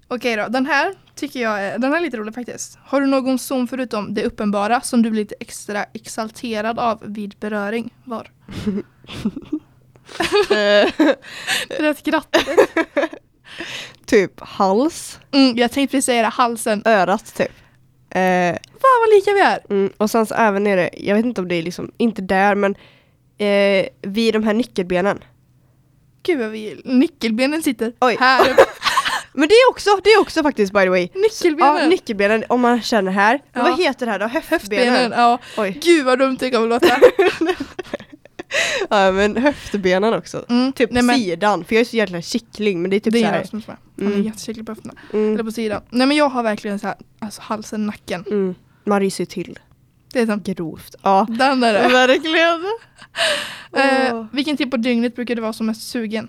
Okej då, den här tycker jag är, den här är lite rolig faktiskt. Har du någon zon förutom det uppenbara som du blir lite extra exalterad av vid beröring? Var?
eh,
Det är Rätt grattigt.
typ hals,
Mm, jag tänkte precis säga det, halsen.
örat typ. Eh,
Fan vad lika vi är!
mm, och sen så även nere, jag vet inte om det är liksom, inte där men eh, vid de här nyckelbenen.
Gud vad vi, nyckelbenen sitter
Oj.
här uppe.
Men det är också, det är också faktiskt by the way.
Nyckelbenen!
Ja, nyckelbenen om man känner här.
Ja.
Men Vad heter det här då? Höftbenen?
Benen, ja.
Oj.
Gud vad dumt det kommer låta.
Ja men höftbenen också.
Mm.
Typ
Nej, men,
sidan, för jag är så jäkla kyckling men det är typ
det
så
är
här.
jag som är. Han är
Mm.
jättekycklig på höfterna. Eller
Mm,
på sidan. Nej men jag har verkligen så här, alltså halsen, nacken.
mm. Man ryser ju till
Det är sånt.
grovt. Ja.
Den är det.
Mm. Verkligen.
Eh,
Åh.
vilken tid på dygnet brukar du vara som mest sugen?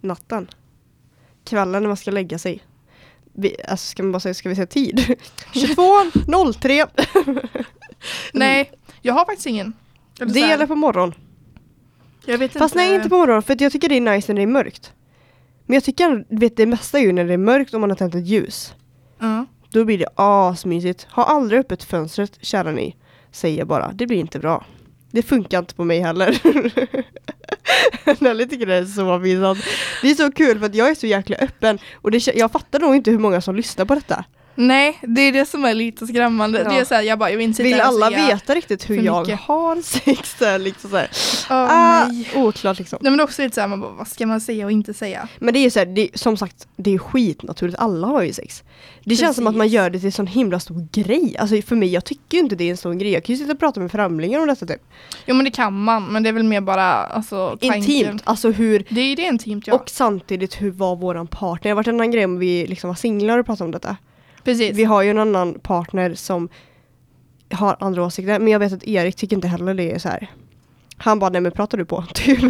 Natten. Kvällen när man ska lägga sig. Vi, alltså ska man bara säga, ska vi säga tid? 22.03.
Nej, jag har faktiskt ingen. Eller
Det
så här,
gäller på morgon.
jag vet
Fast nej inte på morgon för att jag tycker det är nice när det är mörkt. Men jag tycker du vet, det mesta är ju när det är mörkt och man har tänt ett ljus.
Ja.
Då blir det asmysigt. Ha aldrig öppet fönstret kära ni. Säger jag bara, det blir inte bra. Det funkar inte på mig heller. Nelly tycker det är så pinsamt. Det är så kul för att jag är så jäkla öppen och det, kä- jag fattar nog inte hur många som lyssnar på detta.
Nej, det är det som är lite skrämmande.
Ja.
Det är såhär, jag bara, jag vill inte sitta
Vill
här och
alla
säga-
veta riktigt hur
för
jag
mycket.
har sex? Där, liksom så här.
Åh,
ah,
nej.
oklart liksom.
nej men det är också lite såhär, man bara, vad ska man säga och inte säga?
Men det är ju så här, det, som sagt, det är skitnaturligt. Alla har ju sex. Det känns som att man
Precis.
gör det till en sån himla stor grej. Alltså för mig, jag tycker ju inte det är en stor grej. Jag kan ju sitta och prata med främlingar om detta typ.
Jo men det kan man, men det är väl mer bara alltså, tanken.
Intimt, alltså hur
Det är ju det intimt ja.
Och samtidigt hur var våran partner? Det har varit en annan grej om vi liksom var singlar och pratade om detta.
Precis.
Vi har ju en annan partner som har andra åsikter. Men jag vet att Erik tycker inte heller det är så här. Han bara, nej men pratar du på? Typ.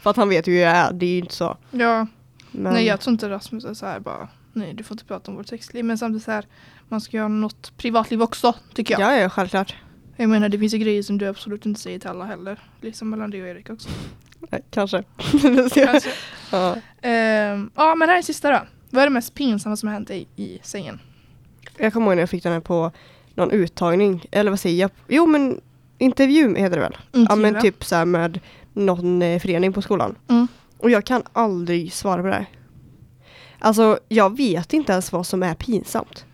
För att han vet hur jag är. Det är ju inte så.
Ja.
Men,
Nej jag tror inte Rasmus är såhär bara, nej du får inte prata om vårt sexliv. Men samtidigt såhär, man ska ju ha något privatliv också tycker
ja.
jag.
ja, ja, självklart.
Jag menar det finns ju grejer som du absolut inte säger till alla heller. Liksom mellan dig och Erik också.
Nej, kanske.
Kanske.
ja.
Ehm, ja men här är sista då. Vad är det mest pinsamma som har hänt dig i sängen?
Jag kommer ihåg när jag fick den här på någon uttagning. Eller vad säger jag? Jo men intervju heter det väl? Ja men
Intervju,
typ så här med någon eh, förening på skolan.
Mm.
Och jag kan aldrig svara på det här. Alltså jag vet inte ens vad som är pinsamt.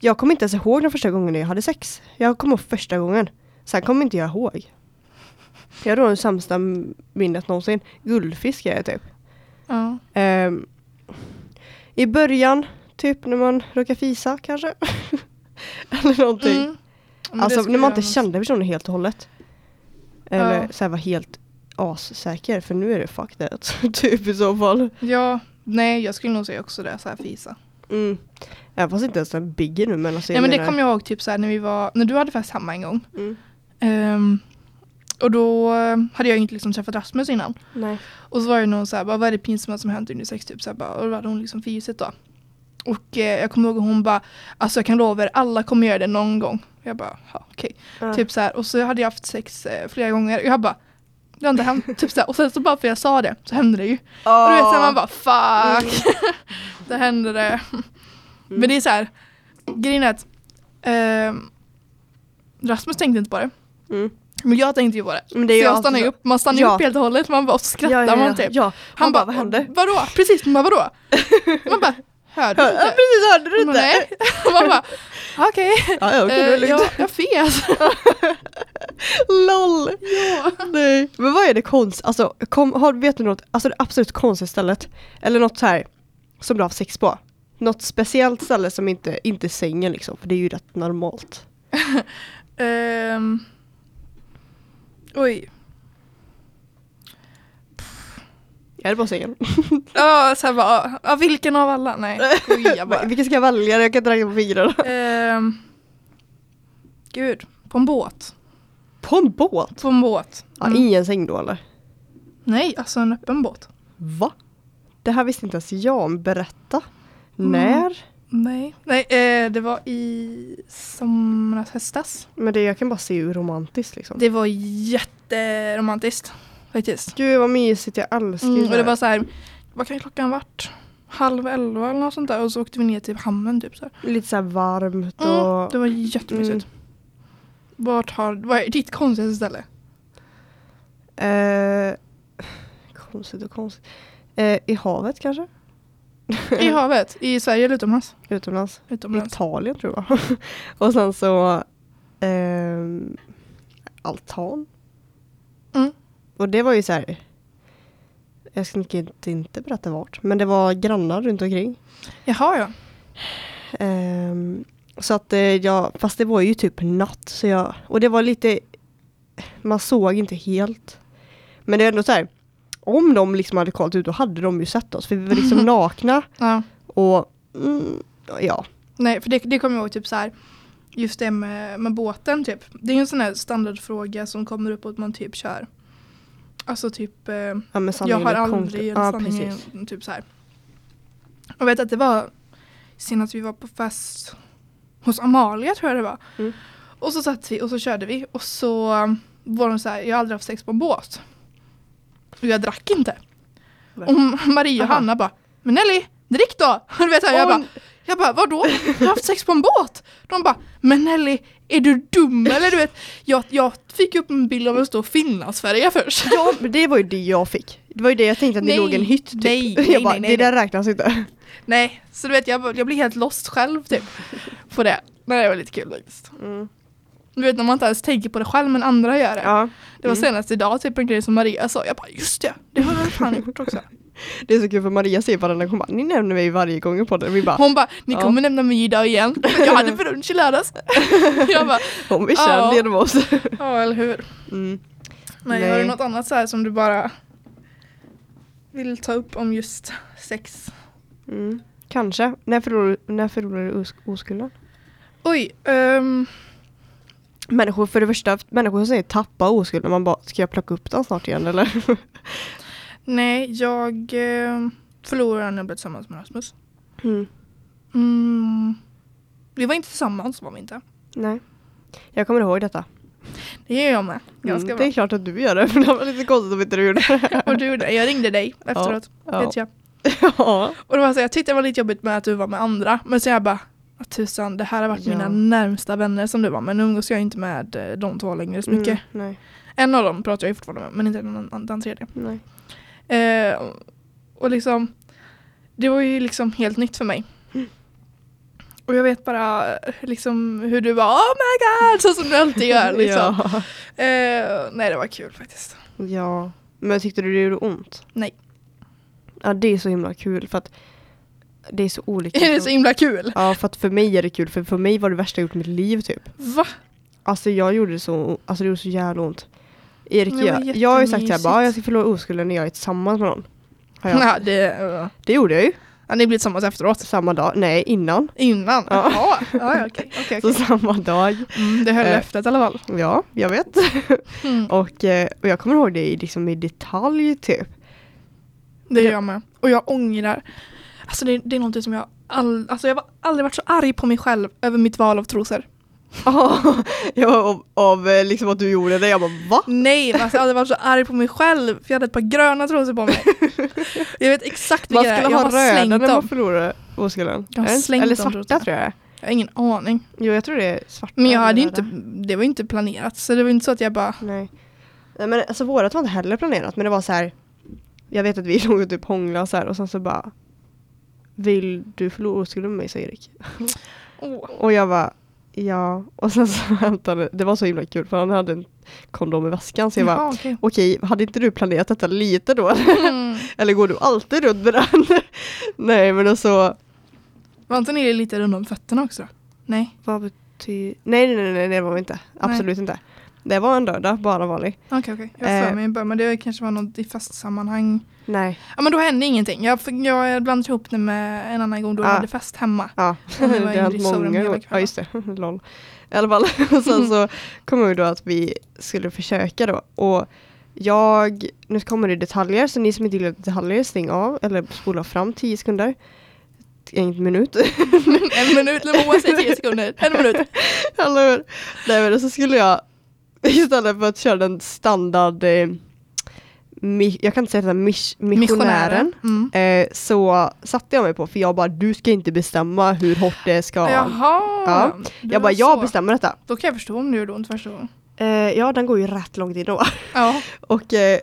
Jag kommer inte ens ihåg den första gången jag hade sex. Jag kommer ihåg första gången. Sen kommer inte jag ihåg. Jag har då det sämsta m- minnet någonsin. Guldfisk är jag typ.
Ja.
Ehm, I början, typ när man råkar fisa kanske. Eller någonting.
Mm. Men det
Alltså
skulle
när man
jag
inte
nog-
kände personen helt och hållet. Eller
Ja.
så här var helt assäker för nu är det fuck that. typ i så fall.
Ja, nej jag skulle nog säga också det, såhär fisa.
Mm. Även fast inte ens den bigger nu men alltså
Nej men det
menar-
kommer jag ihåg typ såhär när vi var, när du hade fest hemma en gång.
mm.
Ehm, och då eh, hade jag ju inte liksom träffat Rasmus innan.
Nej.
Och så var det någon såhär, bara, vad är det pinsamma som hänt under sex typ? Så här, bara, och då hade hon liksom fisit då. Och eh, jag kommer ihåg att hon bara, alltså jag kan lova er, alla kommer göra det någon gång. Jag bara, ja okej.
Ja.
Typ så här, och så hade jag haft sex eh, flera gånger och jag bara, det har inte hänt. typ så här, och sen så bara för jag sa det så hände det ju. Och du vet så här, man bara fuck.
Mm.
det hände det. Men det är så här. Grejen är att ehm, Rasmus tänkte inte på det.
Mm.
Men jag tänkte ju på det.
Men det är ju
så jag
alltid
stannar ju
så.
upp. Man stannar ju
Ja.
upp helt och hållet. Man bara och så skrattar
ja, ja, ja.
man typ.
Ja. Han, bara, vad hände?
Vadå? Precis, man bara vadå? Man bara, hör du
Hör, ja,
inte?
precis, hörde du
Man bara,
inte?
Nej. Man bara, okej.
Ja, ja, okej, det var
Eh, jag,
lugnt.
jag fes.
LOL! Nej. Men vad är det konst, alltså kom, har, vet du något, alltså det absolut konstiga stället? Eller något så här som du har haft sex på? Något speciellt ställe som inte, inte sängen liksom, för det är ju rätt normalt.
Ehm, oj.
Jag hade bara sängen.
Ja, så här bara, ja, vilken av alla? Nej, skoja bara.
Vilken ska jag välja? Jag kan inte räkna på fingrarna.
Ehm, gud, på en båt.
På en båt?
På en båt.
Ja,
Mm.
I en säng då eller?
Nej, alltså en öppen båt.
Va? Det här visste inte ens jag om, berätta.
Mm.
När?
Nej, Nej eh, det var i somras, höstas.
Men det, jag kan bara se hur romantiskt liksom.
Det var jätteromantiskt faktiskt.
Gud vad mysigt, jag älskar ju
Mm, och
det
det
här.
var så här, vad kan klockan vart? Halv elva eller något sånt där och så åkte vi ner till hamnen typ så här.
Lite så här varmt
Mm,
och...
det var jättemysigt.
Mm.
Vart har, vad är ditt konstigaste ställe?
Eh, konstigt och konstigt. Eh, I havet kanske?
I havet? I Sverige eller utomlands?
Utomlands?
Utomlands.
Italien tror jag. och sen så ehm, altan.
Mm.
Och det var ju så här. Jag ska inte, inte berätta vart. Men det var grannar runt omkring.
Jaha ja.
Ehm, så att eh, jag, fast det var ju typ natt. Så jag, och det var lite, man såg inte helt. Men det är ändå så här, om de liksom hade kollat ut då hade de ju sett oss. För vi var liksom nakna
ja.
och mm, ja.
Nej, för det, det kommer jag ihåg typ så här. Just det med, med båten typ. Det är ju en sån här standardfråga som kommer upp att man typ kör. Alltså typ, eh,
ja men
jag
sanningen
har
är konk-
aldrig en
ja,
sanning
precis.
i- typ så här. Jag vet att det var senast vi var på fest hos Amalia tror jag det var.
Mm.
Och så satt vi och så körde vi och så um, var de så här, jag har aldrig haft sex på en båt. Och jag drack inte.
Va?
Och Maria och
Aha.
Hanna bara, men Nelly, drick då! Och du vet så här, jag
Oj.
bara, jag bara, vadå? Jag har haft sex på en båt! De bara, men Nelly, är du dum eller? Du vet, jag, jag fick upp en bild av en stor Finlandsfärja först.
Ja, men det var ju det jag fick. Det var ju det jag tänkte att det
Nej,
låg en hytt typ.
nej, nej,
jag bara,
nej, nej.
det där räknas inte.
Nej, så du vet, jag, jag blir helt lost själv typ på det. Men det var lite kul faktiskt.
Mm.
Du vet när man inte ens tänker på det själv men andra gör det.
Ja.
Det var
Mm.
senast idag typ en grej som Maria sa. Jag bara just det, det har jag fan gjort också.
Det är så kul för Maria säger varenda gång, hon bara, ni nämner mig varje gång i podden. Vi bara,
Hon bara, ni
Ja.
kommer nämna mig idag igen. För jag hade brunch i lördags. jag bara,
hon blir
Ja.
känd genom oss.
ja eller hur.
Mm.
Nej,
Nej.
har du något annat så här som du bara vill ta upp om just sex?
Mm. Kanske. När förlorar, när förlorar du os- oskulden?
Oj, ehm,
Människor, för det första, människor säger tappa oskulden. Man bara, ska jag plocka upp den snart igen eller?
nej jag um, förlorade när jag blev tillsammans med Rasmus.
Mm.
Mm. Vi var inte tillsammans var vi inte.
Nej. Jag kommer ihåg detta.
Det gör jag med.
Mm.
Ganska
Det är klart att du gör det, för det var lite konstigt om inte du gjorde det.
bra. Och du gjorde, jag ringde dig efteråt.
ja.
Vet jag.
ja.
Och det var så, jag tyckte det var lite jobbigt med att du var med andra. Men så jag bara, "Ah, tusan det här har varit
Ja.
mina närmsta vänner som du var med. Nu umgås jag inte med eh, de två längre så mycket.
Mm. Nej.
En av dem pratar jag ju fortfarande med men inte den, an- den tredje.
Nej.
Eh, och liksom, det var ju liksom helt nytt för mig.
Mm.
Och jag vet bara eh, liksom hur du var oh my god, så som du alltid gör liksom.
Ja.
eh, nej det var kul faktiskt.
ja. Men tyckte du det gjorde ont?
Nej.
Ja, det är så himla kul för att det är så olika.
Det är så himla kul.
Ja, för att för mig är det kul. För för mig var det värsta jag gjort i mitt liv typ.
Va?
Alltså jag gjorde det så, alltså det gjorde så jävla ont. Erik,
Men det var
jag, jag har ju sagt såhär,
jättemysigt.
bara, jag ska förlora oskulden när jag är tillsammans med någon. Har jag.
Ja, det, eh,
Det gjorde jag ju.
ja, ni blev tillsammans efteråt.
Samma dag, nej innan.
Innan?
Ja.
Jaha. Ja, ja, okej. okej,
Så
okej.
samma dag.
Mm, det höll
Eh.
löftet i alla fall.
Ja, jag vet.
Mm.
Och, eh, och jag kommer ihåg det i, liksom, i detalj typ.
Det gör jag med. Och jag ångrar. Alltså det, det är någonting som jag all, alltså jag har aldrig varit så arg på mig själv över mitt val av trosor.
Ja, av, av eh, liksom att du gjorde det. Jag bara va?
Nej, men alltså jag hade varit så arg på mig själv för jag hade ett par gröna trosor på mig. jag vet exakt
Man
vilka det är.
skulle
Jag
ha
har bara
röda
slängt
när man
dem.
förlorar oskulden.
Jag har
Är det inte-
slängt
Eller
dem,
svarta
tror jag.
tror jag.
Jag har ingen aning.
Jo jag tror det är svarta.
Men jag
eller
hade ju inte,
röda.
det var ju inte planerat så det var ju inte så att jag bara
Nej. Nej men alltså vårat var inte heller planerat men det var så här. Jag vet att vi låg och typ hånglade så här och sen så bara Vill du förlora oskulden med mig sa Erik.
åh.
Och jag bara Ja. Och sen så hämtade, det var så himla kul för han hade en kondom i väskan så jag bara
Jaha, okej.
Okej, hade inte du planerat detta lite då?
Mm.
Eller går du alltid runt med den? Nej men alltså, och så
Var inte ni lite runda om fötterna också? Nej,
Vad betyder... Nej, nej, nej, nej, det var vi inte. Absolut inte. Det var en lördag, bara vanlig.
okej okej. Jag har för
Eh.
mig i början, men det kanske var något i fast sammanhang.
Nej.
Ja men då hände ingenting. Jag, jag blandade ihop det med en annan gång då jag
Ja.
hade fest hemma.
Ja,
Ja,
Ah. det
det var
har hänt
Ingrid Sorum hela
många gånger. Ja,
kvällen.
just det. Lol. I alla fall, och sen så kom vi då att vi skulle försöka då. Och jag, nu kommer det detaljer, så ni som inte gillar detaljer, stäng av eller spola fram 10 sekunder. En minut.
en minut, eller vad säger tio sekunder. En minut.
Eller hur? Nej men så skulle jag istället för att köra den standard eh, mi- jag kan inte säga det där, mis- missionären
Mm.
eh, så satte jag mig på för jag bara du ska inte bestämma hur hårt det ska
Jaha.
Ja.
det
Jag bara
var
jag
så.
bestämmer detta.
Då kan jag förstå om det gjorde ont första gången.
Eh, ja den går ju rätt långt in då.
Ja.
Och eh,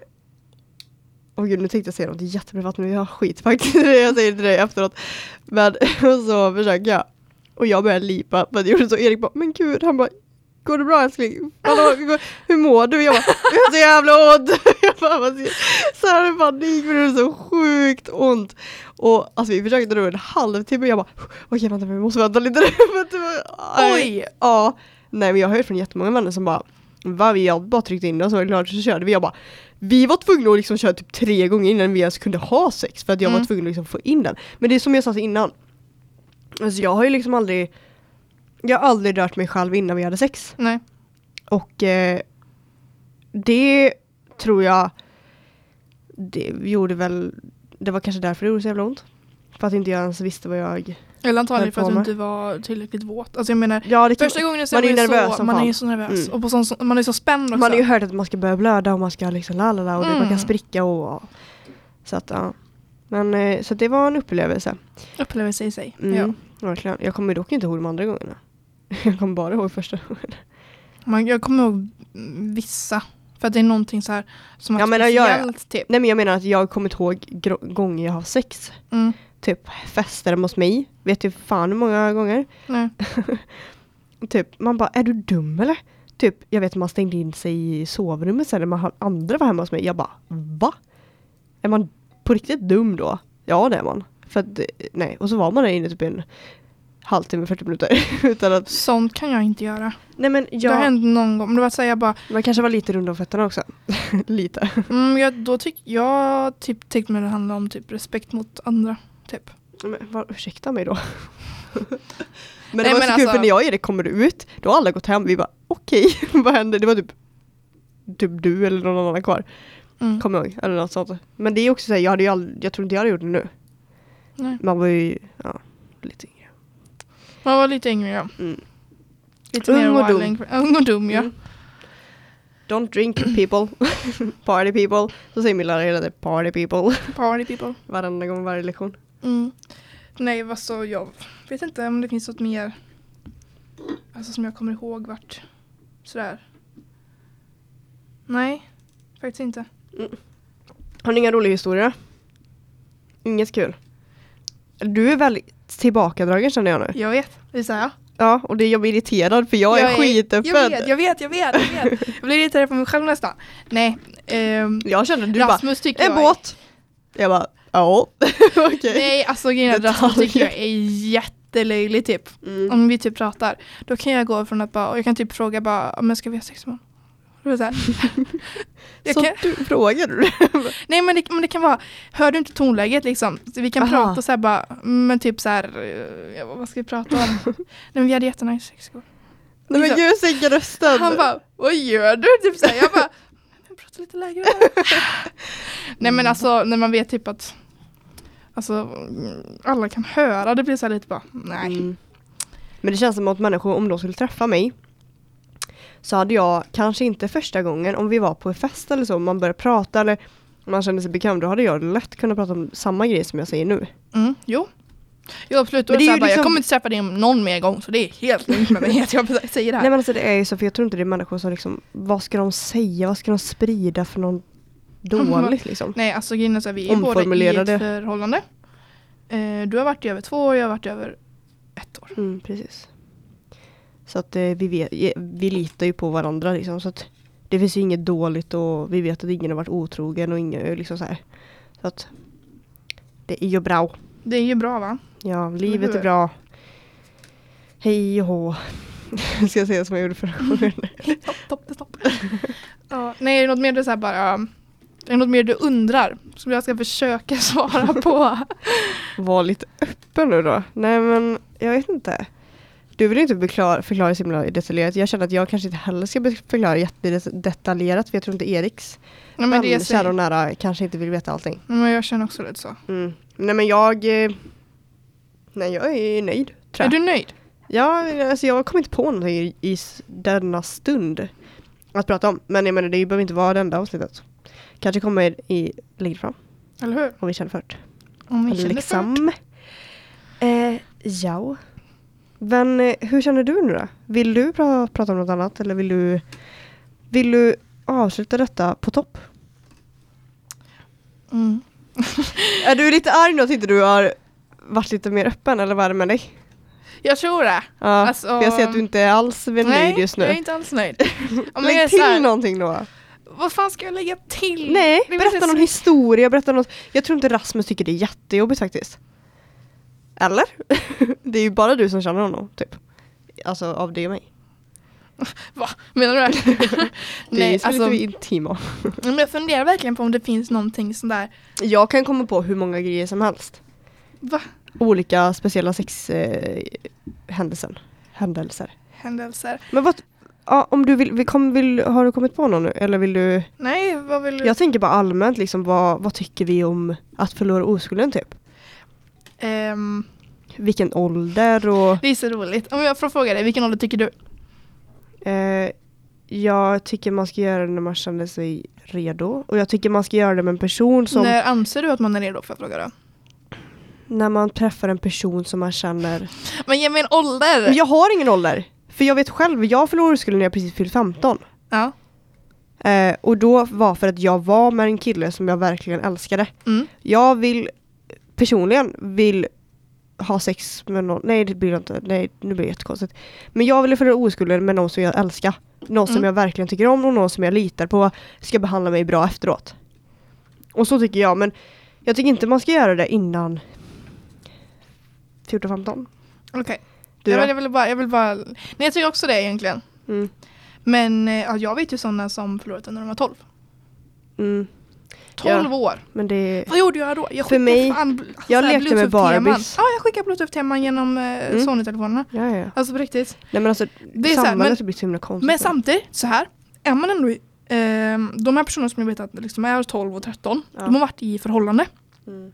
Åh gud nu tänkte jag säga något jätteprivat men jag har skit faktiskt. jag säger till dig efteråt. Men och så försöker jag. Och jag börjar lipa för det gjorde så. Erik bara men gud han bara Går det bra älskling? Hallå, går- hur mår du? Jag bara, jag har så jävla ont! Jag bara, vad ska- så här i panik för det är så sjukt ont. Och alltså vi försökte då en halvtimme och jag bara, okej vänta vi måste vänta lite nu. för att det var-
Oj.
Ja, nej men jag har hört från jättemånga vänner som bara Va, vi har bara tryckt in den så var det klart så körde vi. Jag bara, vi var tvungna att liksom köra typ tre gånger innan vi ens kunde ha sex för att jag
Mm.
var tvungen att liksom få in den. Men det är som jag sa innan. Alltså jag har ju liksom aldrig Jag har aldrig rört mig själv innan vi hade sex.
Nej.
Och eh, det tror jag Det gjorde väl Det var kanske därför det gjorde så jävla ont. För att inte jag ens visste vad jag
Eller antagligen
Höll
för att
på
du
med.
inte var tillräckligt våt. Alltså jag menar,
Ja det kan,
första gången så
man är ju
ju
nervös
så,
som
Man är
fan.
ju så nervös.
Mm.
Och på sån, så- man är så spänd också.
Man har ju hört att man ska börja blöda och man ska liksom la la la och det, man
Mm.
kan spricka och, och så att ja. Men eh, så att det var en upplevelse.
Upplevelse i sig.
Mm,
Ja.
Verkligen. Jag kommer dock inte ihåg de andra gångerna. Jag kommer bara ihåg första gången.
Man, jag kommer ihåg vissa. För att det är någonting så här som är
Ja, men det gör jag.
speciellt typ.
Nej men jag menar att jag har kommit ihåg gro- gånger jag har haft sex.
Mm.
Typ fester hemma hos mig. Vet du fan hur många gånger.
Nej.
Typ, man bara, är du dum eller? Typ, jag vet att man stängde in sig i sovrummet sen när man hade- andra var hemma hos mig. Jag bara, va? Är man på riktigt dum då? Ja, det är man. För att, eh, nej. Och så var man där inne typ en halvtimme, 40 minuter. Utan att,
Sånt kan jag inte göra.
nej men
Det har
jag,
hänt någon gång. Men det var så här, jag bara,
man kanske var lite rund om fötterna också. lite.
mm, jag, då tyck, jag typ, tyckte mig det handlade om typ respekt mot andra. Typ.
Men, vad, ursäkta mig då. men det
Nej,
var
men
så kul
alltså-
för när jag och Erik kommer ut, då har alla gått hem. Vi bara, okej, vad händer? Det var typ, typ du eller någon annan kvar.
Mm.
Kommer jag ihåg, eller något sånt. Men det är också såhär, jag, hade ju aldrig, jag tror inte jag hade gjort det nu.
Nej.
Man var ju, ja, lite yngre.
Man var lite yngre ja.
Mm.
Lite
Ung och
mer
dum.
wild. Ung och dum ja.
Mm. Don't drink people, party people. Så säger min lärare hela tiden, party people.
Party people.
Varenda gång, varje lektion.
Mm. Nej, vad så jag vet inte om det finns något mer alltså som jag kommer ihåg vart sådär. Nej, faktiskt inte.
Har ni inga roliga historier? Inget kul? Du är väldigt tillbakadragen känner jag nu.
Jag vet, det säger jag.
Ja, och det, jag blir irriterad för jag, är, skitöppen.
Jag vet, jag vet, jag vet. Jag, vet. jag blir irriterad på mig själv nästan. Nej, ehm,
Jag känner, du bara,
Rasmus tycker
en
jag är-
båt. Jag bara, ja, okej.
Nej, alltså grejen är att Rasmus
Detaljer.
tycker jag är jättelöjlig typ.
Mm.
Om vi typ pratar, då kan jag gå från att bara, och jag kan typ fråga bara, men ska vi ha sex imorgon? Då är det så här. Jag
Så
kan-
du frågar du
Nej men det, men det kan vara, hör du inte tonläget liksom? Så Vi kan
Aha.
prata så här bara, men typ så här, eh, vad ska vi prata om? Nej men vi hade jättenice sex igår.
Nej men gud, sänk rösten.
Han bara, vad gör du? Typ så här, jag bara, men prata lite lägre bara. Nej
Mm.
men alltså när man vet typ att Alltså mm, alla kan höra, det blir så här lite bara nej.
Mm. Men det känns som att människor, om de skulle träffa mig så hade jag, kanske inte första gången, om vi var på en fest eller så, om man började prata eller om man kände sig bekväm, då hade jag lätt kunnat prata om samma grej som jag säger nu.
Mm, jo. Jo absolut, då
Men
är det så här
det är ju
bara, jag
liksom-
kommer inte träffa dig någon mer gång så det är helt lugnt med mig att jag säger det här.
Nej men alltså det är ju så, för jag tror inte det är människor som liksom, vad ska de säga, vad ska de sprida för någon dåligt liksom.
Nej, alltså grejen är så här, vi är båda i
Omformulera
ett
det.
förhållande. Eh, du har varit i över två år, jag har varit i över ett år.
Mm, precis. Så att eh, vi, vet, vi litar ju på varandra liksom. Så att det finns ju inget dåligt och vi vet att ingen har varit otrogen och ingen liksom så här. Så att det är ju bra.
Det är ju bra va?
Ja,
Eller
livet
hur?
är bra. Hej och hå. Ska jag säga som jag gjorde förra gången?
Topp, topp, det är topp. ja, nej, är det något mer du så här bara... um, Är det något mer du undrar som jag ska försöka svara på?
Var lite öppen nu då. Nej men jag vet inte. Du vill ju inte förklara, förklara så himla detaljerat. Jag känner att jag kanske inte heller ska förklara jättedetaljerat för jag tror inte Eriks
nej, men
men
det är
kära och
så,
nära kanske inte vill veta allting.
nej, men jag känner också lite så.
Mm. Nej men jag... eh, Nej jag är nöjd. Tror
Är
jag.
du nöjd?
Ja, alltså jag kom inte på någonting i, i s- denna stund att prata om. Men jag menar det behöver inte vara det enda avsnittet. Kanske kommer i längre fram
Eller hur?
om vi känner för det.
Om vi känner
Eller
för det.
liksom. Eh, ja. Men eh, hur känner du nu då? Vill du pra prata om något annat eller vill du, vill du avsluta detta på topp?
Mm.
Är du lite arg nu att inte du har varit lite mer öppen eller vad är det med dig?
Jag tror det.
Ja,
Alltså,
för jag ser att du inte alls är nöjd just nu.
jag är inte alls nöjd. Om jag är
Lägg
så
till
här,
någonting då.
Vad fan ska jag lägga till?
Nej,
Det är
berätta
precis-
någon historia, berätta något. Jag tror inte Rasmus tycker det är jättejobbigt faktiskt. Eller? det är ju bara du som känner honom, typ. Alltså av dig och mig.
Va? Menar du verkligen?
Det är ju
Nej,
så
alltså,
lite vi är intima.
men jag funderar verkligen på om det finns någonting sån där.
Jag kan komma på hur många grejer som helst.
Va?
Olika speciella sexhändelser. Eh, händelser. händelser.
Händelser.
Men vad... Ja, om du vill, vi kom, vill, har du kommit på någon nu? Eller vill du...
Nej, vad vill du?
Jag tänker bara allmänt, liksom, vad, vad tycker vi om att förlora oskulden typ?
Ehm,
Vilken ålder och...
det är så roligt. Om jag får fråga dig, vilken ålder tycker du?
Eh, jag tycker man ska göra det när man känner sig redo. Och jag tycker man ska göra det med en person som...
När anser du att man är redo? Får jag fråga då?
När man träffar en person som man känner...
Men ge mig en ålder!
Men jag har ingen ålder! För jag vet själv, jag förlorade skulden när jag precis fyllt 15.
Ja.
Eh, och då var för att jag var med en kille som jag verkligen älskade.
Mm.
Jag vill personligen vill ha sex med någon, nej det blir jag inte, nej nu blir det jättekonstigt. Men jag ville förlora oskulden med någon som jag älskar. Någon som
Mm.
jag verkligen tycker om och någon som jag litar på ska behandla mig bra efteråt. Och så tycker jag, men jag tycker inte man ska göra det innan 14-15.
Okej.
Du
Ja,
då?
men jag, vill bara, jag vill bara... Nej, jag tycker också det egentligen.
Mm.
Men eh, ja, jag vet ju sådana som förlorat den när de var 12.
Mm.
12 år!
Men det,
Vad gjorde jag då? Jag
För
skickade
mig-
fan, bl-
jag
så här
lekte med
Bluetooth-teman.
Barbies.
Ja, jag skickade bluetooth-teman genom eh,
Mm.
Sony-telefonerna.
ja ja.
Alltså på riktigt.
Nej men alltså,
Det är så här,
samhället
men-
har blivit så himla konstigt.
Men samtidigt, så här. Är man ändå i, eh, de här personerna som jag vet att liksom är 12 och 13,
Ja.
de har varit i förhållande.
Mm.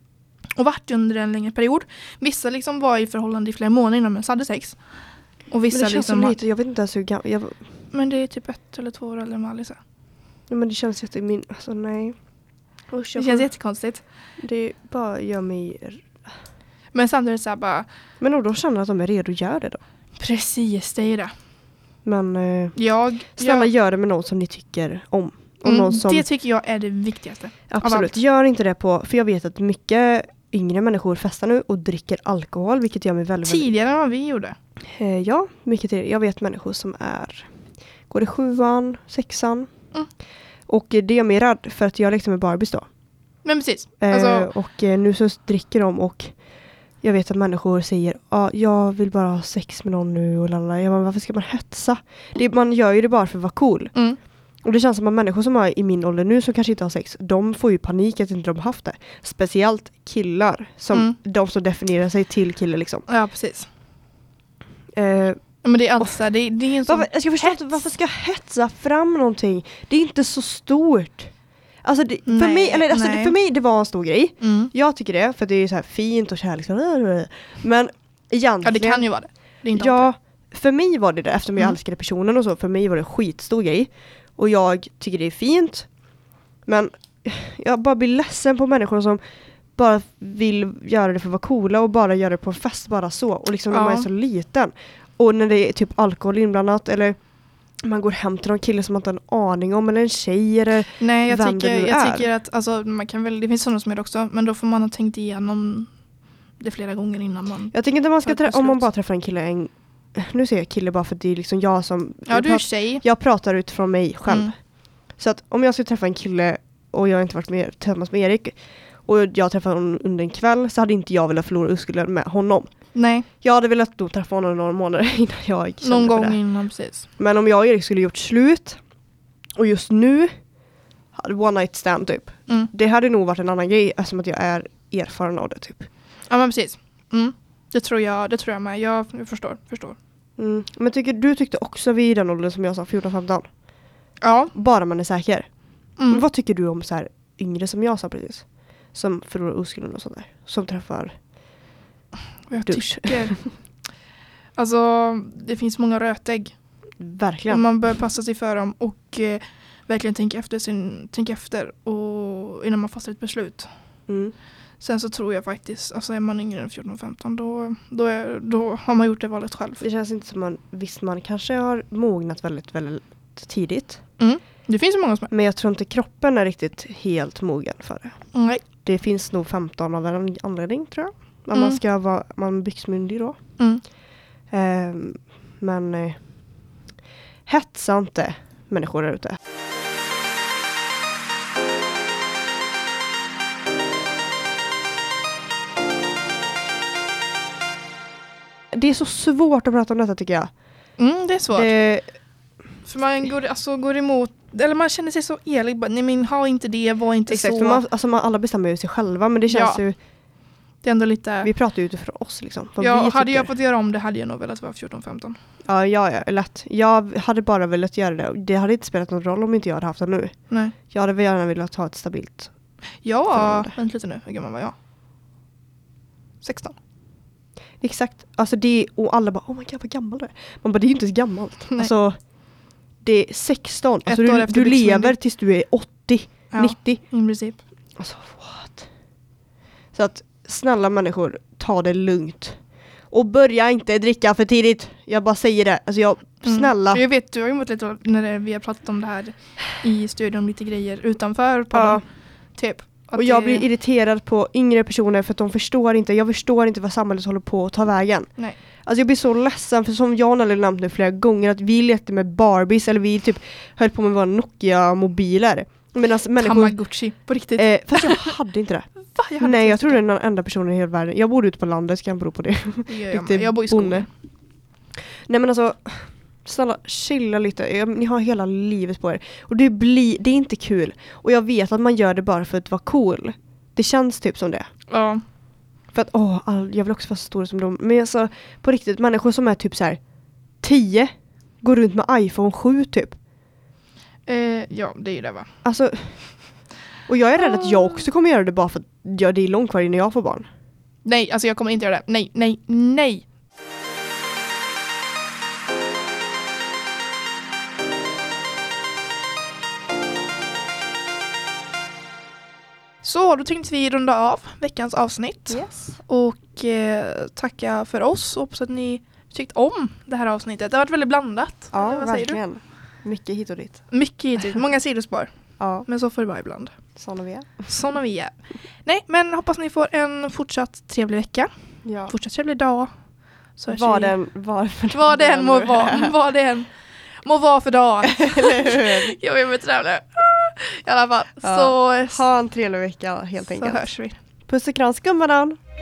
Och varit under en längre period. Vissa liksom var i förhållande i flera månader innan de ens hade sex. Och vissa
men det känns
liksom...
så
har-
lite, jag vet inte ens hur gammal, jag,
Men det är typ ett eller två år äldre än vad Alice är.
nej, men det känns jätte, min, alltså nej. Usch,
Det
jag
känns
får-
jättekonstigt.
Det bara gör mig... r-
Men samtidigt så här bara,
Men om de känner att de är redo, gör det då.
precis det är ju det.
Men eh,
Jag,
snälla
jag
gör det med någon som ni tycker om. Och
mm,
någon som,
det tycker jag är det viktigaste.
absolut,
allt.
gör inte det på... För jag vet att mycket yngre människor festar nu och dricker alkohol, vilket gör mig väldigt... väldigt-
Tidigare än vad vi gjorde.
Eh, ja, mycket tidigare. Jag vet människor som är... Går i sjuan, sexan.
Mm.
Och eh, det gör mig rädd för att jag lekte med Barbies då.
Men precis.
Eh,
Alltså,
och eh, nu så dricker de och jag vet att människor säger ah, jag vill bara ha sex med någon nu och lalala. Jag bara, varför ska man hetsa? Det, man gör ju det bara för att vara cool.
mm,
Och det känns som att människor som är i min ålder nu som kanske inte har sex, de får ju panik att inte de har haft det. Speciellt killar, som
Mm.
de som definierar sig till kille liksom.
ja precis.
Eh,
Men det är alltid så här, det, det är en sån...
varför, jag förstår inte,
hets.
varför ska jag hetsa fram någonting? Det är inte så stort. Alltså, det, för,
Nej,
mig, eller, alltså det,
nej.
för mig det var en stor grej.
Mm.
Jag tycker det, för att det är så här fint och kärleksfullt. Men egentligen...
Ja det kan ju vara det. Det är inte alltid.
Ja, för mig var det det, eftersom jag
Mm.
älskade personen och så. För mig var det en skitstor grej. Och jag tycker det är fint. Men jag bara blir ledsen på människor som bara vill göra det för att vara coola och bara göra det på en fest bara så. Och liksom när
Ja.
man är så liten. Och när det är typ alkohol inblandat eller man går hem till någon kille som man inte har en aning om eller en tjej eller...
Nej jag
vem det
tycker,
nu
jag
är.
tycker att alltså, man kan väl, det finns sådana som är det också, men då får man ha tänkt igenom det flera gånger innan man...
Jag tänker inte man ska
Tar ett
trä- om man
beslut.
bara träffar en kille en nu säger jag kille bara för att det är liksom jag som
Ja du är
jag,
tjej.
jag pratar utifrån mig själv.
Mm.
Så att om jag skulle träffa en kille och jag har inte varit med, tillsammans med Erik och jag träffar honom under en kväll så hade inte jag velat förlora oskulden med honom.
Nej,
Jag hade velat då träffa honom några månader innan jag kände
någon
för
gång
det.
innan precis.
Men om jag och Erik skulle gjort slut och just nu hade one night stand typ.
Mm.
Det hade nog varit en annan grej eftersom att jag är erfaren av det typ.
Ja men precis. Mm. Det tror jag, det tror jag med. Jag, jag förstår, förstår.
Mm. Men tycker, du tyckte också vid den åldern som jag sa, 14-15?
Ja.
Bara man är säker.
Mm.
Men vad tycker du om så här yngre som jag sa precis? Som förlorar oskulden och sånt där. Som träffar
Vad jag
Dusch.
tycker. Alltså, det finns många rötägg.
verkligen.
Man bör passa sig för dem och eh, verkligen tänka efter, sin, tänka efter och, innan man fattar ett beslut.
Mm.
Sen så tror jag faktiskt, alltså är man yngre än 14-15 då, då, är, då har man gjort det valet själv.
Det känns inte som man, visst man kanske har mognat väldigt, väldigt tidigt.
Det finns ju många som är.
Men jag tror inte kroppen är riktigt helt mogen för det.
Nej.
Det finns nog 15 av en anledning tror jag. När man
Mm.
ska vara man är byxmyndig då.
Mm.
Ehm, men eh, hetsa inte människor där ute. Det är så svårt att prata om detta tycker jag.
Mm, det är svårt.
Det,
För man går, alltså, går emot, eller man känner sig så elig. Bara, Nej men ha inte det, var inte
exakt,
så.
för man, alltså man, alla bestämmer ju sig själva men det känns
Ja.
ju,
det är ändå lite...
vi pratar ju utifrån oss liksom. Vad
Ja,
vi
hade jag
tycker.
fått göra om det hade jag nog velat vara 14-15.
Ja, ja, ja, lätt. Jag hade bara velat göra det. Det hade inte spelat någon roll om inte jag hade haft det nu.
Nej.
Jag hade väl gärna velat ha ett stabilt.
Ja,
Förhållande.
vänta lite nu. Hur gammal var jag? 16.
Exakt. Alltså det, och alla bara, oh my god vad gammal du är. Man bara, det är ju inte så gammalt.
Nej.
Alltså, det är 16. Alltså,
Ett år
du
efter
du
byxmyndig.
lever tills du är 80,
Ja,
90.
i princip.
Alltså what? Så att snälla människor, ta det lugnt. Och börja inte dricka för tidigt. Jag bara säger det. Alltså jag,
Mm.
snälla.
För Jag vet, du har ju mått lite dåligt när det- vi har pratat om det här i studion, lite grejer utanför podden.
Ja.
Typ. Att
Och jag
det-
blir irriterad på yngre personer för att de förstår inte. Jag förstår inte vad samhället håller på att ta vägen.
Nej.
Alltså jag blir så ledsen för som jag och Nelly nämnt nu flera gånger att vi lekte med Barbies eller vi typ höll på med våra Nokia-mobiler. Medan människor...
Tamagotchi, på riktigt.
Eh, fast jag hade inte det.
Va? hade
Nej
inte
jag tror det är
ens
den enda personen i hela världen. Jag bor ute på landet så kan bero på det.
det. gör jag,
riktig
med. jag bor i skogen.
bonde. Nej men alltså, snälla chilla lite. Ja, men Ni har hela livet på er. Och det, blir, det är inte kul. Och jag vet att man gör det bara för att vara cool. Det känns typ som det.
Ja.
För att åh, all, jag vill också vara så stor som dem. Men alltså på riktigt, människor som är typ så här 10 går runt med iPhone 7 typ.
Eh, ja, det är ju det va.
Alltså, och jag är rädd att jag också kommer göra det bara för att ja, det är långt kvar innan jag får barn.
Nej, alltså jag kommer inte göra det. Nej, nej, nej. Så, då tänkte vi runda av veckans avsnitt.
Yes.
och eh, tacka för oss. Hoppas att ni tyckt om det här avsnittet. Det har varit väldigt blandat. Eller
Ja,
vad säger
verkligen. Mycket hit och dit.
Du? Mycket hittills. Många sidospår.
Ja,
Men så får det vara ibland.
sådana vi är.
Såna vi är. Nej, men hoppas ni får en fortsatt trevlig vecka.
Ja.
Fortsatt trevlig dag. Så hörs
Var
vi-
den, var,
Vad det än må vara. Vad det än må vara för dag.
Eller
Jag är betrövlig. I alla fall.
Ja.
Så,
hur? Ha en trevlig vecka helt
så
enkelt.
hörs vi.
Puss och kram, skumbanan!